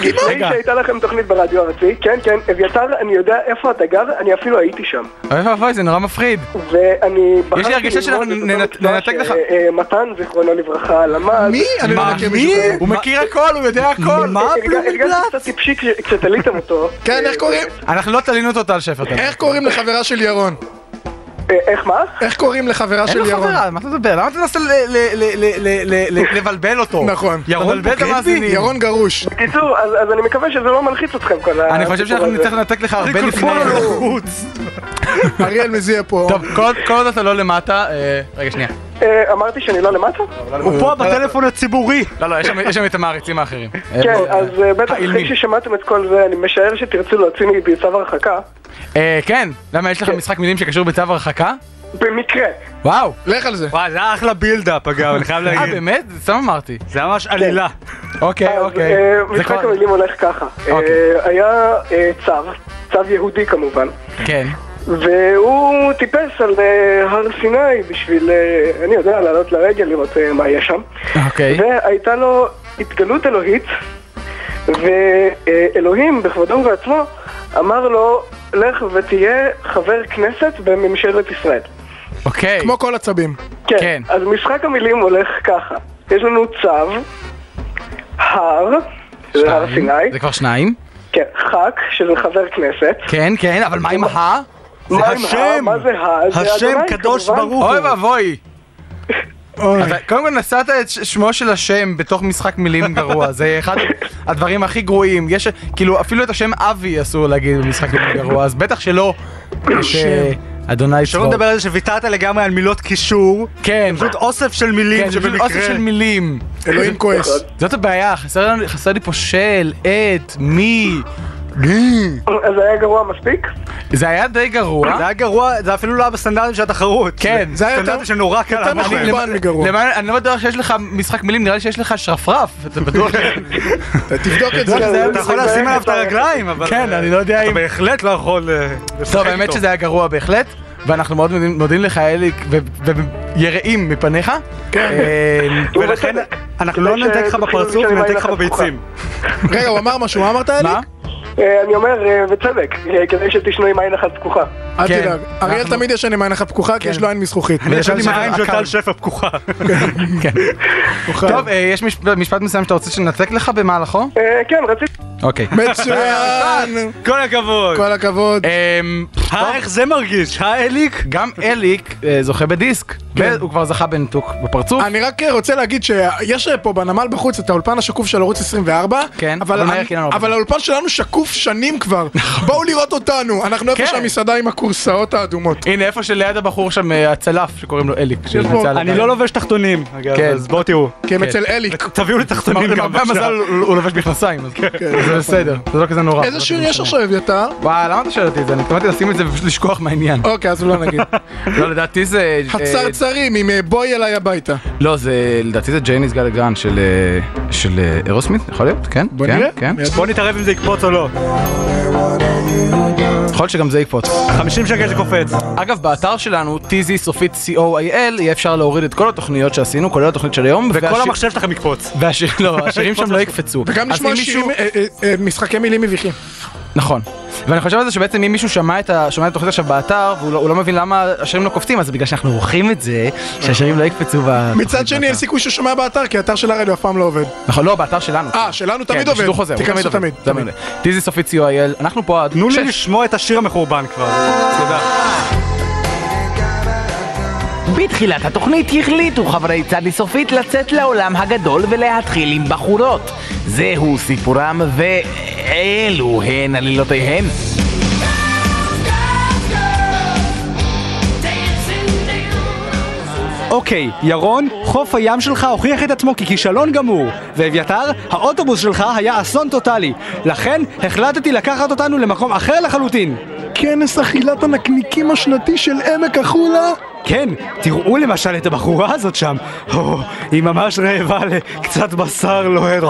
Speaker 11: לפני שהייתה לכם תוכנית ברדיו ארצי, כן, כן, אביתר, אני יודע איפה אתה גר, אני אפילו הייתי שם.
Speaker 10: אוי ואבוי, זה נורא מפחיד.
Speaker 11: ואני בחרתי
Speaker 10: יש לי הרגשה שאנחנו
Speaker 11: ללמוד את אותו
Speaker 10: ננת-
Speaker 11: מקצוע
Speaker 10: ננתק לך.
Speaker 11: ש- אה, מתן, זיכרונו לברכה, למד.
Speaker 10: מי? אני לא
Speaker 11: אה,
Speaker 10: מה? מכיר מישהו מי? כזה. הוא מכיר הכל, הוא יודע הכל. מה?
Speaker 11: הרגשתי קצת טיפשי כש- כשתליתם אותו.
Speaker 4: כן, איך קוראים?
Speaker 10: אנחנו לא תלינו את טל שפר. תמיד.
Speaker 4: איך קוראים לחברה של ירון?
Speaker 11: אה, איך מה?
Speaker 4: איך קוראים לחברה
Speaker 10: אין
Speaker 4: של
Speaker 10: לו
Speaker 4: ירון?
Speaker 10: חברה, מה אתה מדבר? למה אתה מנסה ל- ל- ל- ל- ל- ל- ל- לבלבל אותו?
Speaker 4: נכון.
Speaker 10: ירון בוגד בי?
Speaker 4: ירון גרוש.
Speaker 11: בקיצור, אז אז אני מקווה שזה לא מלחיץ אתכם כל ה...
Speaker 10: אני חושב שאנחנו נצטרך לנתק לך הרבה לפני...
Speaker 4: אריאל מזיע פה.
Speaker 10: טוב, כל כל עוד אתה לא למטה... אה, רגע, שנייה.
Speaker 11: אה, אמרתי שאני לא למטה?
Speaker 10: הוא פה בטלפון
Speaker 2: הציבורי.
Speaker 10: לא, לא, יש שם- יש שם את המעריצים האחרים.
Speaker 11: כן, אז אה, בטח אחרי ששמעתם את כל זה, אני משער שתרצו להוציא לי בצו הרחקה.
Speaker 10: אה, כן, למה יש לך משחק מילים שקשור בצו הרחקה?
Speaker 11: במקרה.
Speaker 10: וואו.
Speaker 4: לך על זה.
Speaker 2: וואי, זה היה אחלה בילדאפ אגב, אני חייב להגיד.
Speaker 10: אה, באמת? סתם אמרתי.
Speaker 2: זה היה ממש עלילה.
Speaker 10: אוקיי, אוקיי.
Speaker 11: אה,
Speaker 10: זה
Speaker 11: משחק
Speaker 10: כבר-
Speaker 11: המילים הולך ככה.
Speaker 10: אוקיי.
Speaker 11: אה, היה אה, צו, צו יהודי כמובן.
Speaker 10: כן.
Speaker 11: והוא טיפס על אה, הר סיני בשביל, אה, אני יודע, לעלות לרגל לראות אה, מה יש שם.
Speaker 10: אוקיי.
Speaker 11: והייתה לו התגלות אלוהית, ואלוהים בכבודו ובעצמו אמר לו, לך ותהיה חבר כנסת בממשלת ישראל.
Speaker 10: אוקיי.
Speaker 4: כמו כל עצבים.
Speaker 11: כן. כן. אז משחק המילים הולך ככה. יש לנו צו, הר, שזה הר
Speaker 10: שתיים.
Speaker 11: סיני,
Speaker 10: זה כבר שניים.
Speaker 11: כן, ח"כ, שזה חבר כנסת.
Speaker 10: כן, כן, אבל מה עם ה?
Speaker 11: מה עם ה? מה זה ה? זה אדוני, כמובן.
Speaker 10: אוי ואבוי. אתה- קודם כל נשאת את ש- שמו של השם בתוך משחק מילים גרוע, זה אחד הדברים הכי גרועים. יש, כאילו, אפילו את השם אבי אסור להגיד במשחק מילים גרוע, אז בטח שלא. ש- אדוני
Speaker 2: שלא נדבר על זה שוויתרת לגמרי על מילות קישור.
Speaker 10: כן.
Speaker 2: פשוט אוסף של מילים
Speaker 10: כן, זה פשוט
Speaker 2: שבמקרה...
Speaker 10: אוסף של מילים.
Speaker 2: אלוהים כועס.
Speaker 11: נכון.
Speaker 10: זאת הבעיה, חסר לנו- חסר לי פה של, את, מי.
Speaker 11: אז היה גרוע מספיק?
Speaker 2: לא,
Speaker 10: זה היה די גרוע.
Speaker 2: זה היה גרוע, זה אפילו לא היה בסטנדרטים של התחרות.
Speaker 10: כן,
Speaker 2: זה היה סטנדרטים שנורא קל.
Speaker 10: יותר
Speaker 2: לעמוד
Speaker 10: מכובד
Speaker 2: בהם.
Speaker 10: מגרוע. למען- אני לא בטוח שיש לך משחק מילים, נראה לי שיש לך שרפרף, אתה בטוח?
Speaker 4: תבדוק
Speaker 10: את זה.
Speaker 22: אוקיי,
Speaker 2: אתה יכול לשים עליו את הרגליים, אבל... אה,
Speaker 10: כן, אני לא יודע אם...
Speaker 2: אתה בהחלט לא יכול... אה, לשחק
Speaker 10: טוב, האמת
Speaker 2: איתו.
Speaker 10: שזה היה גרוע בהחלט, ואנחנו מאוד מודים- מודים לך, אליק, ו- ויראים מפניך.
Speaker 2: כן.
Speaker 10: אה,
Speaker 2: ולכן אנחנו לא ננתק לך בפרצוף, ננתק לך בביצים.
Speaker 4: רגע, הוא אמר משהו, מה אמרת אליק?
Speaker 11: אה, אני אומר, אה, בצדק, אה, כדי שתשנו עם עין אחת פקוחה.
Speaker 4: אל
Speaker 22: כן.
Speaker 4: תדאג. אריאל תמיד ישן עם עין אחת פקוחה, כי יש לו עין מזכוכית.
Speaker 2: שפע פקוחה.
Speaker 10: טוב, אה, יש משפ- משפט מסוים שאתה רוצה שננתק לך במהלכו?
Speaker 11: כן, רציתי...
Speaker 10: אוקיי.
Speaker 4: מצוין.
Speaker 2: כל הכבוד.
Speaker 4: כל הכבוד.
Speaker 10: אמ,
Speaker 2: אה, איך זה מרגיש? אה, אליק?
Speaker 10: גם אליק אה, זוכה בדיסק.
Speaker 2: כן.
Speaker 22: והוא כבר זכה בניתוק בפרצוף.
Speaker 4: אני רק רוצה להגיד שיש פה בנמל בחוץ את האולפן השקוף של ערוץ 24,
Speaker 22: כן,
Speaker 4: אבל,
Speaker 22: אבל מהר,
Speaker 4: אני-
Speaker 22: כי אין לנו נכון. הרבה
Speaker 4: אבל האולפן שלנו שקוף שנים כבר. בואו לראות אותנו, אנחנו
Speaker 22: כן.
Speaker 4: איפה שהמסעדה עם הכורסאות האדומות.
Speaker 22: הנה, איפה שליד הבחור שם, אה, הצלף, שקוראים לו אליק.
Speaker 4: יש פה-
Speaker 2: אני לא לובש תחתונים, אגב,
Speaker 22: כן.
Speaker 2: אז בואו תראו.
Speaker 22: כן, אצל
Speaker 4: אליק.
Speaker 2: תביאו לי תחתונים גם. כן.
Speaker 22: למרבה
Speaker 2: בבקשה.
Speaker 22: המזל
Speaker 10: לא-
Speaker 22: הוא הוא לובש מכנסיים, אז זה בסדר, זה לא כזה נורא.
Speaker 4: איזה שיר יש עכשיו, אביתר?
Speaker 22: וואי, למה אתה שואל אותי את זה? אני התכוונתי לשים את זה ופשוט לשכוח מהעניין.
Speaker 4: אוקיי, אז לא נגיד.
Speaker 22: לא, לדעתי זה...
Speaker 4: הצרצרים עם אה, בואי אליי הביתה.
Speaker 22: לא, זה... לדעתי זה ג'ייניס גלגרן של... אה, של אה, אירוסמית, יכול להיות? כן?
Speaker 4: בוא
Speaker 22: כן,
Speaker 4: נראה.
Speaker 22: כן.
Speaker 2: בוא נתערב אם זה יקפוץ או לא.
Speaker 22: יכול להיות שגם זה יקפוץ.
Speaker 2: 50 שקל זה קופץ.
Speaker 22: אגב, באתר שלנו, tz סופית co.il, יהיה אפשר להוריד את כל התוכניות שעשינו, כולל התוכנית של היום.
Speaker 2: וכל
Speaker 22: והשיר-
Speaker 2: המחשב שלכם יקפוץ.
Speaker 22: והשיר- לא, השירים שם לא יקפצו.
Speaker 4: וגם
Speaker 22: אז
Speaker 4: לשמוע
Speaker 22: אם מישהו-
Speaker 4: שירים, אה, אה, אה, משחקי מילים מביכים.
Speaker 22: נכון. ואני חושב על זה שבעצם אם מישהו שמע את ה- שומע את התוכנית עכשיו באתר, והוא לא- הוא לא מבין למה השירים לא קופצים, אז זה בגלל שאנחנו עורכים את זה, שהשירים לא יקפצו ב...
Speaker 4: מצד שני, אין סיכוי שהוא שומע באתר, כי האתר של הרדיו אף פעם לא עובד.
Speaker 22: נכון, לא, באתר שלנו.
Speaker 4: אה, שלנו תמיד
Speaker 22: כן,
Speaker 4: עובד.
Speaker 22: בשידור חוזר, הוא
Speaker 4: תיכנסו
Speaker 22: עובד.
Speaker 4: תמיד,
Speaker 22: תמיד. טיזי סופית co.il, אנחנו פה עד...
Speaker 2: תנו לי
Speaker 22: שש.
Speaker 2: לשמוע את השיר המחורבן כבר. תודה.
Speaker 23: בתחילת התוכנית החליטו חברי צדי סופית לצאת לעולם הגדול ולהתחיל עם בחורות. זהו סיפורם ואלו הן עלילותיהם.
Speaker 2: אוקיי, ירון, חוף הים שלך הוכיח את עצמו ככישלון גמור. ואביתר, האוטובוס שלך היה אסון טוטאלי. לכן החלטתי לקחת אותנו למקום אחר לחלוטין.
Speaker 4: כנס אכילת הנקניקים השנתי של עמק החולה?
Speaker 2: כן, תראו למשל את הבחורה הזאת שם. הו, היא ממש רעבה לקצת בשר לא לוהט.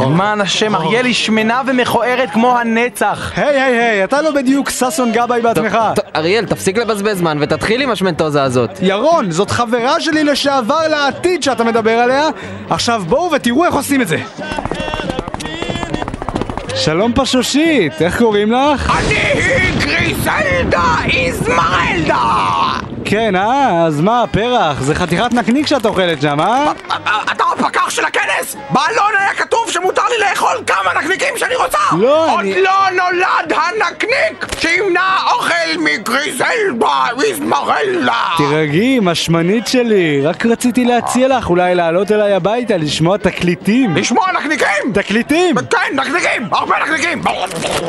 Speaker 24: למען
Speaker 2: השם,
Speaker 24: אריאל
Speaker 2: היא שמנה ומכוערת כמו הנצח. היי, היי, היי, אתה לא בדיוק ששון גבאי בעצמך.
Speaker 3: טוב, אריאל, תפסיק לבזבז זמן ותתחיל עם השמנטוזה הזאת.
Speaker 2: ירון, זאת חברה שלי לשעבר לעתיד שאתה מדבר עליה. עכשיו בואו ותראו איך עושים את זה. שלום פשושית, איך קוראים לך?
Speaker 25: אני גריסלדה איזמרלדה!
Speaker 2: כן, אה? אז מה, פרח? זה חתיכת נקניק שאת אוכלת שם, אה?
Speaker 25: אתה הפקח של הכנס? בעלון היה כתוב שמותר לי לאכול כמה נקניקים שאני רוצה!
Speaker 2: לא,
Speaker 25: עוד
Speaker 2: אני-
Speaker 25: לא נולד הנקניק שימנע אוכל מגריזלדה איזמרלדה!
Speaker 2: תירגעי, משמנית שלי, רק רציתי להציע לך אולי לעלות אליי הביתה, לשמוע תקליטים.
Speaker 25: לשמוע נקניקים?
Speaker 2: תקליטים!
Speaker 25: כן, נקניקים! הרבה נקניקים!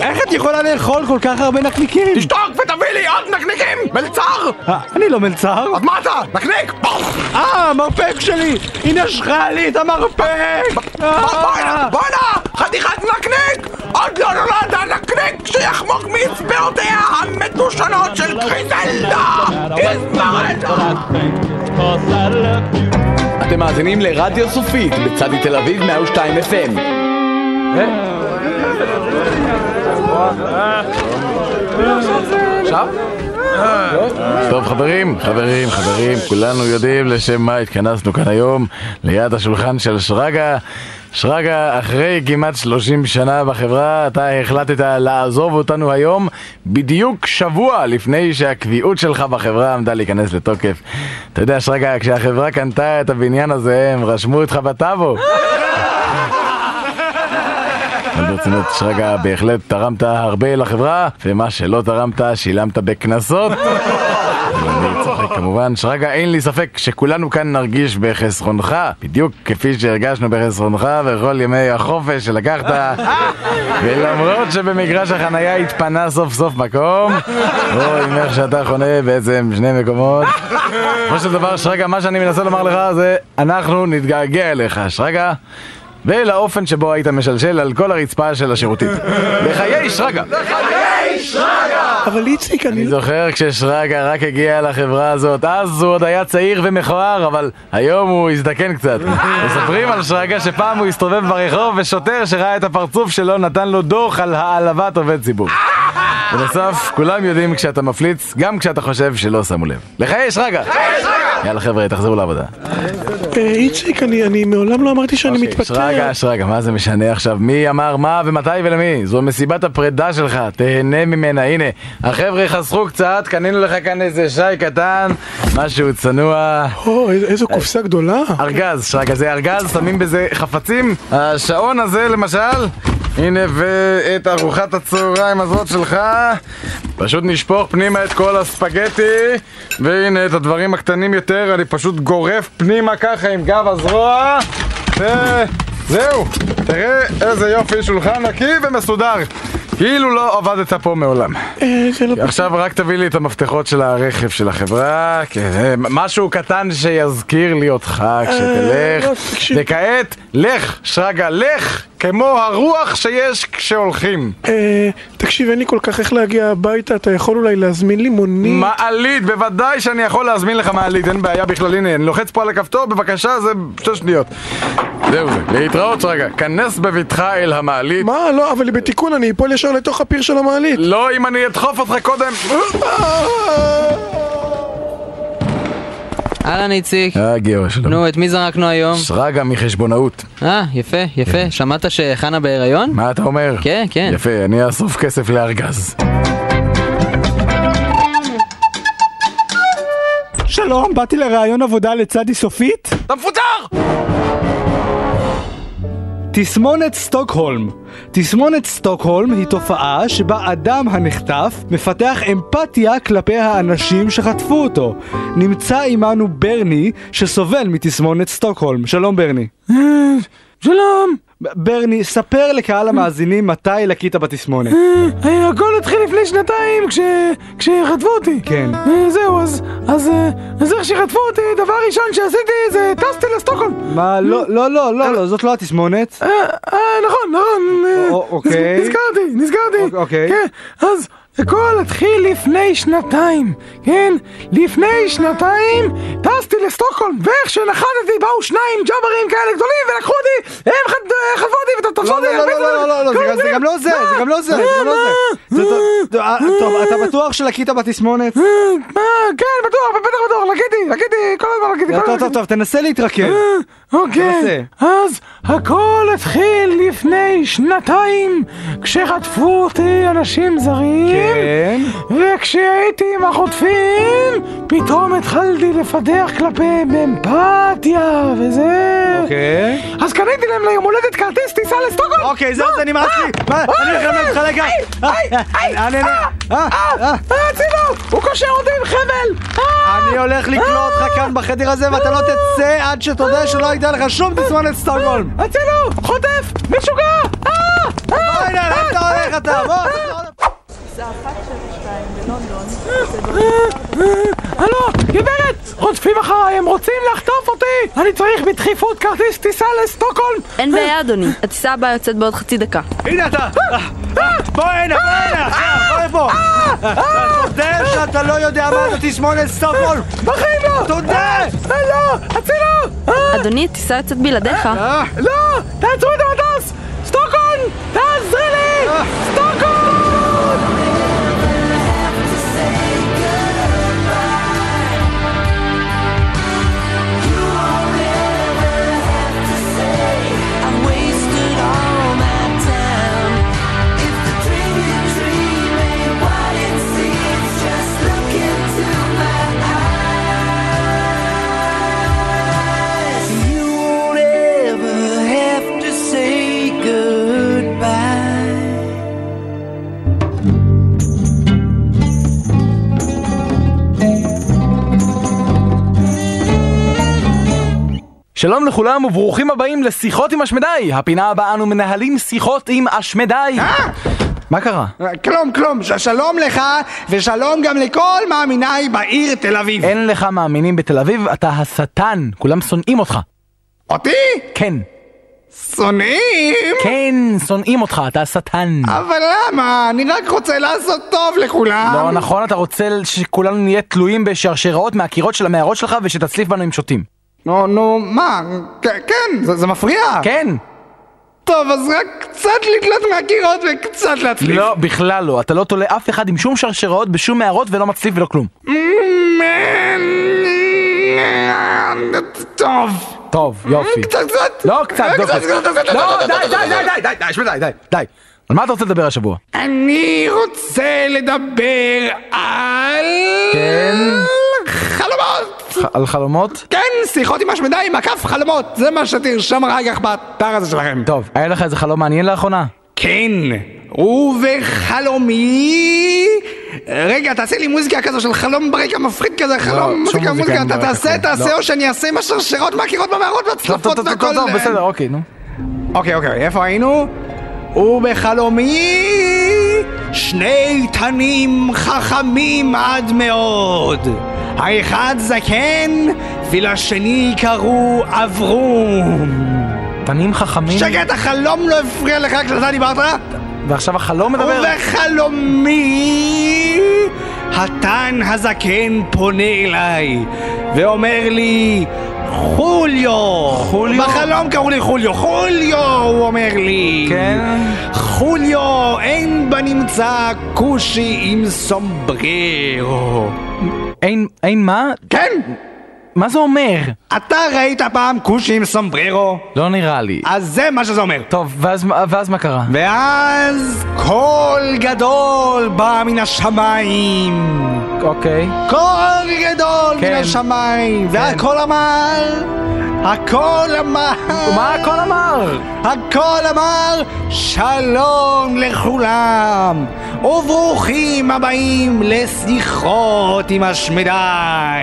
Speaker 2: איך את יכולה לאכול כל כך הרבה נקניקים?
Speaker 25: תשתוק ותביא לי עוד נקניקים! מלצר!
Speaker 2: אה, אני לא מלצר.
Speaker 25: אז מה אתה? נקניק!
Speaker 2: אה, המרפק שלי! היא נשכה לי את המרפק! אה.
Speaker 25: בואנה! בואנה! חתיכת נקניק! עוד לא נולד הנקניק שיחמוק מאצבעותיה המדושנות של גריזלדה! איזמרלדה!
Speaker 26: אתם מאזינים לרדיו סופית בצדי תל אביב 102 FM.
Speaker 22: עכשיו?
Speaker 10: טוב חברים, חברים, חברים, כולנו יודעים לשם מה התכנסנו כאן היום ליד השולחן של שרגא. שרגא, אחרי כמעט 30 שנה בחברה, אתה החלטת לעזוב אותנו היום בדיוק שבוע לפני שהקביעות שלך בחברה עמדה להיכנס לתוקף. אתה יודע, שרגא, כשהחברה קנתה את הבניין הזה, הם רשמו אותך בטאבו. אבל ברצינות, שרגא, בהחלט תרמת הרבה לחברה, ומה שלא תרמת, שילמת בקנסות. אני צוחק כמובן, שרגא, אין לי ספק שכולנו כאן נרגיש בחסרונך, בדיוק כפי שהרגשנו בחסרונך בכל ימי החופש שלקחת, ולמרות שבמגרש החנייה התפנה סוף סוף מקום, רואים איך שאתה חונה בעצם שני מקומות. בסופו של דבר, שרגא, מה שאני מנסה לומר לך זה, אנחנו נתגעגע אליך, שרגא. ולאופן שבו היית משלשל על כל הרצפה של השירותית. בחיי שרגא!
Speaker 4: אבל איציק, לא-
Speaker 10: אני זוכר כששרגא רק הגיע לחברה הזאת, אז הוא עוד היה צעיר ומכוער, אבל היום הוא הזדקן קצת. מספרים על שרגא שפעם הוא הסתובב ברחוב ושוטר שראה את הפרצוף שלו נתן לו דוח על העלבת עובד ציבור. בנוסף, כולם יודעים כשאתה מפליץ, גם כשאתה חושב שלא שמו לב. לחיי שרגא! יאללה חבר'ה, תחזרו לעבודה.
Speaker 4: אה, איציק, אני אני מעולם לא אמרתי
Speaker 10: אוקיי,
Speaker 4: שאני מתפטר.
Speaker 10: שרגא, שרגא, מה זה משנה עכשיו? מי אמר מה ומתי ולמי? זו מסיבת הפרידה שלך, תהנה ממנה. הנה, החבר'ה חסכו קצת, קנינו לך כאן איזה שי קטן, משהו צנוע.
Speaker 4: או, איזה- איזו קופסה גדולה.
Speaker 10: ארגז, שרגא, זה ארגז, שמים בזה חפצים. השעון הזה, למשל,
Speaker 1: הנה ואת ארוחת הצהריים הזאת שלך. פשוט נשפוך פנימה את כל הספגטי, והנה את הדברים הקטנים יותר, אני פשוט גורף פנימה ככה עם גב הזרוע. ו... זהו, תראה איזה יופי, שולחן נקי ומסודר. כאילו לא עבדת פה מעולם. עכשיו רק תביא לי את המפתחות של הרכב של החברה, כן, משהו קטן שיזכיר לי אותך
Speaker 4: אה,
Speaker 27: אה,
Speaker 1: כשתלך.
Speaker 4: לא,
Speaker 1: וכעת, לך, שרגא, לך, כמו הרוח שיש כשהולכים.
Speaker 4: אה, תקשיב, אין לי כל כך איך להגיע הביתה, אתה יכול אולי להזמין לי מונית?
Speaker 1: מעלית, בוודאי שאני יכול להזמין לך מעלית, אין בעיה בכלל, הנה, אני לוחץ פה על הכפתור, בבקשה, זה שתי שניות. זהו זה, להתראות רגע, כנס בבטחה אל המעלית.
Speaker 4: מה? לא, אבל בתיקון אני אפול ישר לתוך הפיר של המעלית.
Speaker 1: לא, אם אני אדחוף אותך קודם.
Speaker 3: אהלן איציק.
Speaker 18: אה, גיאו, שלום.
Speaker 3: נו, את מי זרקנו היום?
Speaker 18: שרגא מחשבונאות. כן.
Speaker 3: אה, יפה, יפה. שמעת שחנה בהיריון?
Speaker 18: מה אתה אומר?
Speaker 3: כן, כן.
Speaker 18: יפה, אני אאסוף כסף לארגז.
Speaker 2: שלום, באתי לראיון עבודה לצדי סופית?
Speaker 28: אתה מפוטר!
Speaker 2: תסמונת סטוקהולם. תסמונת סטוקהולם היא תופעה שבה אדם הנחטף מפתח אמפתיה כלפי האנשים שחטפו אותו. נמצא עמנו ברני שסובל מתסמונת סטוקהולם. שלום ברני.
Speaker 27: שלום.
Speaker 2: ברני, ספר לקהל המאזינים מתי לקית בתסמונת.
Speaker 27: אה, הכל התחיל לפני שנתיים כש... כשחטפו אותי.
Speaker 2: כן.
Speaker 27: אה, זהו, אז... אז... אה, אז איך שחטפו אותי, דבר ראשון שעשיתי זה טסתי לסטוקהולם.
Speaker 2: מה, לא, לא, לא, לא, לא, זאת לא התסמונת.
Speaker 27: אה, אה, נכון, נכון. אה,
Speaker 2: או- אוקיי.
Speaker 27: נז- נזכרתי, נזכרתי.
Speaker 2: אוקיי.
Speaker 27: כן, אז הכל התחיל לפני שנתיים, כן? לפני שנתיים טסתי לסטוקהולם, ואיך שנחתתי באו שניים ג'אברים כאלה גדולים ולקחו אותי, הם חט- חטפו אותי ותפסו
Speaker 2: לא,
Speaker 27: אותי.
Speaker 2: לא, לא, לא, לא, לא, לא, זה גם- זה גם לא זה, זה גם לא זה, זה גם לא זה. זה טוב, אה, טוב, אתה בטוח שלקית בתסמונת?
Speaker 27: מה,
Speaker 4: אה,
Speaker 27: כן, בטוח, בטח בטוח, לקיתי, לקיתי, כל הזמן לקיתי. כל
Speaker 2: טוב,
Speaker 27: הזמן
Speaker 2: טוב, טוב, טוב, תנסה להתרכז.
Speaker 27: אה,
Speaker 2: תנסה.
Speaker 27: אוקיי, אז הכל התחיל לפני שנתיים כשחטפו אותי אנשים זרים
Speaker 2: כן.
Speaker 27: וכשהייתי עם החוטפים פתאום התחלתי לפתח כלפיהם אמפתיה וזה
Speaker 2: אוקיי.
Speaker 27: אז קניתי להם ליום הולדת כרטיס טיסה לסטוקהולם
Speaker 2: אוקיי, זהו, זה נמאס לי. מה,
Speaker 27: אה,
Speaker 2: אני הולך ללמד לך רגע. אה, אה, אני- אה, אה,
Speaker 27: הצילו! הוא קושר אותי עם חבל! אה,
Speaker 2: אני הולך לקלוא אותך כאן בחדר הזה ואתה לא תצא עד שתודה שלא הייתה לך שום תסמונת סטוקהולם.
Speaker 27: הצילו! חוטף! משוגע! אה!
Speaker 2: בוא
Speaker 1: לא,
Speaker 2: הנה, לאן אתה הולך אתה? בוא.
Speaker 27: הלו, גברת! חוטפים אחריי, הם רוצים לחטוף אותי! אני צריך בדחיפות כרטיס טיסה לסטוקהולם!
Speaker 29: אין בעיה, אדוני. הטיסה הבאה יוצאת בעוד חצי דקה.
Speaker 2: הנה אתה! בוא הנה, בוא הנה,
Speaker 30: אה!
Speaker 2: עכשיו, בוא לפה! תודה שאתה לא יודע מה זה תסמונת סטוקהולם!
Speaker 27: בחיים לא!
Speaker 2: תודה!
Speaker 10: אה,
Speaker 27: לא! הצילו!
Speaker 29: אדוני, הטיסה יוצאת בלעדיך.
Speaker 30: אה!
Speaker 27: לא! תעצרו את המטוס! סטוקהולם! תעזרי לי! סטוקהולם!
Speaker 10: שלום לכולם וברוכים הבאים לשיחות עם השמדי! הפינה הבאה אנו מנהלים שיחות עם השמדי! מה קרה?
Speaker 30: כלום, כלום. ש- שלום לך, ושלום גם לכל מאמיניי בעיר תל אביב.
Speaker 10: אין לך מאמינים בתל אביב, אתה השטן, כולם שונאים אותך.
Speaker 30: אותי?
Speaker 10: כן.
Speaker 30: שונאים?
Speaker 10: כן, שונאים אותך, אתה השטן.
Speaker 30: אבל למה? אני רק רוצה לעשות טוב לכולם.
Speaker 10: לא נכון, אתה רוצה שכולנו נהיה תלויים בשרשראות מהקירות של המערות שלך ושתצליף בנו עם שוטים.
Speaker 30: נו, נו, מה? כ- כן, זה, זה מפריע.
Speaker 10: כן.
Speaker 30: טוב, אז רק קצת לתלות מהקירות וקצת להצליף.
Speaker 10: לא, בכלל לא, אתה לא תולה אף אחד עם שום שרשראות בשום מערות ולא מצליף ולא כלום.
Speaker 30: טוב.
Speaker 10: טוב, יופי.
Speaker 30: קצת, קצת.
Speaker 10: לא, אה, קצת, לא
Speaker 30: קצת, קצת, קצת,
Speaker 10: קצת.
Speaker 30: קצת,
Speaker 10: לא,
Speaker 30: קצת,
Speaker 10: די,
Speaker 30: קצת,
Speaker 10: די,
Speaker 30: קצת,
Speaker 10: די, די, די, השמדי, די, די. על מה אתה רוצה לדבר השבוע?
Speaker 30: אני רוצה לדבר על...
Speaker 10: כן?
Speaker 30: חלומות!
Speaker 10: על חלומות?
Speaker 30: כן, שיחות עם השמדיים, מקף חלומות, זה מה שתרשם אחר כך באתר הזה שלכם.
Speaker 10: טוב, היה לך איזה חלום מעניין לאחרונה?
Speaker 2: כן, ובחלומי... רגע, תעשה לי מוזיקה כזו של חלום ברקע מפחיד כזה, חלום,
Speaker 31: לא, שום
Speaker 2: מוזיקה,
Speaker 31: מוזיקה
Speaker 2: מוזיקה,
Speaker 31: אין
Speaker 2: אתה
Speaker 31: ברקע,
Speaker 2: תעשה,
Speaker 31: כן,
Speaker 2: תעשה,
Speaker 31: לא.
Speaker 2: או שאני אעשה עם השרשרות מהקירות במערות והצלפות
Speaker 31: טוב, טוב,
Speaker 2: והכל.
Speaker 31: טוב, טוב,
Speaker 2: אה,
Speaker 31: בסדר, אוקיי, נו.
Speaker 2: אוקיי, אוקיי, איפה היינו? ובחלומי שני תנים חכמים עד מאוד. האחד זקן, ולשני קראו אברום.
Speaker 10: תנים חכמים?
Speaker 2: שקט, החלום לא הפריע לך כשאתה דיברת?
Speaker 10: ועכשיו החלום מדבר?
Speaker 2: ובחלומי התן הזקן פונה אליי ואומר לי חוליו! חוליו? בחלום קראו לי חוליו. חוליו! הוא אומר לי. כן? חוליו, אין בנמצא כושי עם סומבררו.
Speaker 10: אין, אין מה?
Speaker 2: כן!
Speaker 10: מה זה אומר?
Speaker 2: אתה ראית פעם כושי עם סומבררו?
Speaker 10: לא נראה לי.
Speaker 2: אז זה מה שזה אומר.
Speaker 10: טוב, ואז, ואז מה קרה?
Speaker 2: ואז קול גדול בא מן השמיים.
Speaker 10: אוקיי.
Speaker 2: קול גדול מן השמיים. והקול אמר... הקול אמר... מה
Speaker 10: הקול אמר?
Speaker 2: הקול אמר שלום לכולם, וברוכים הבאים לשיחות עם השמדי.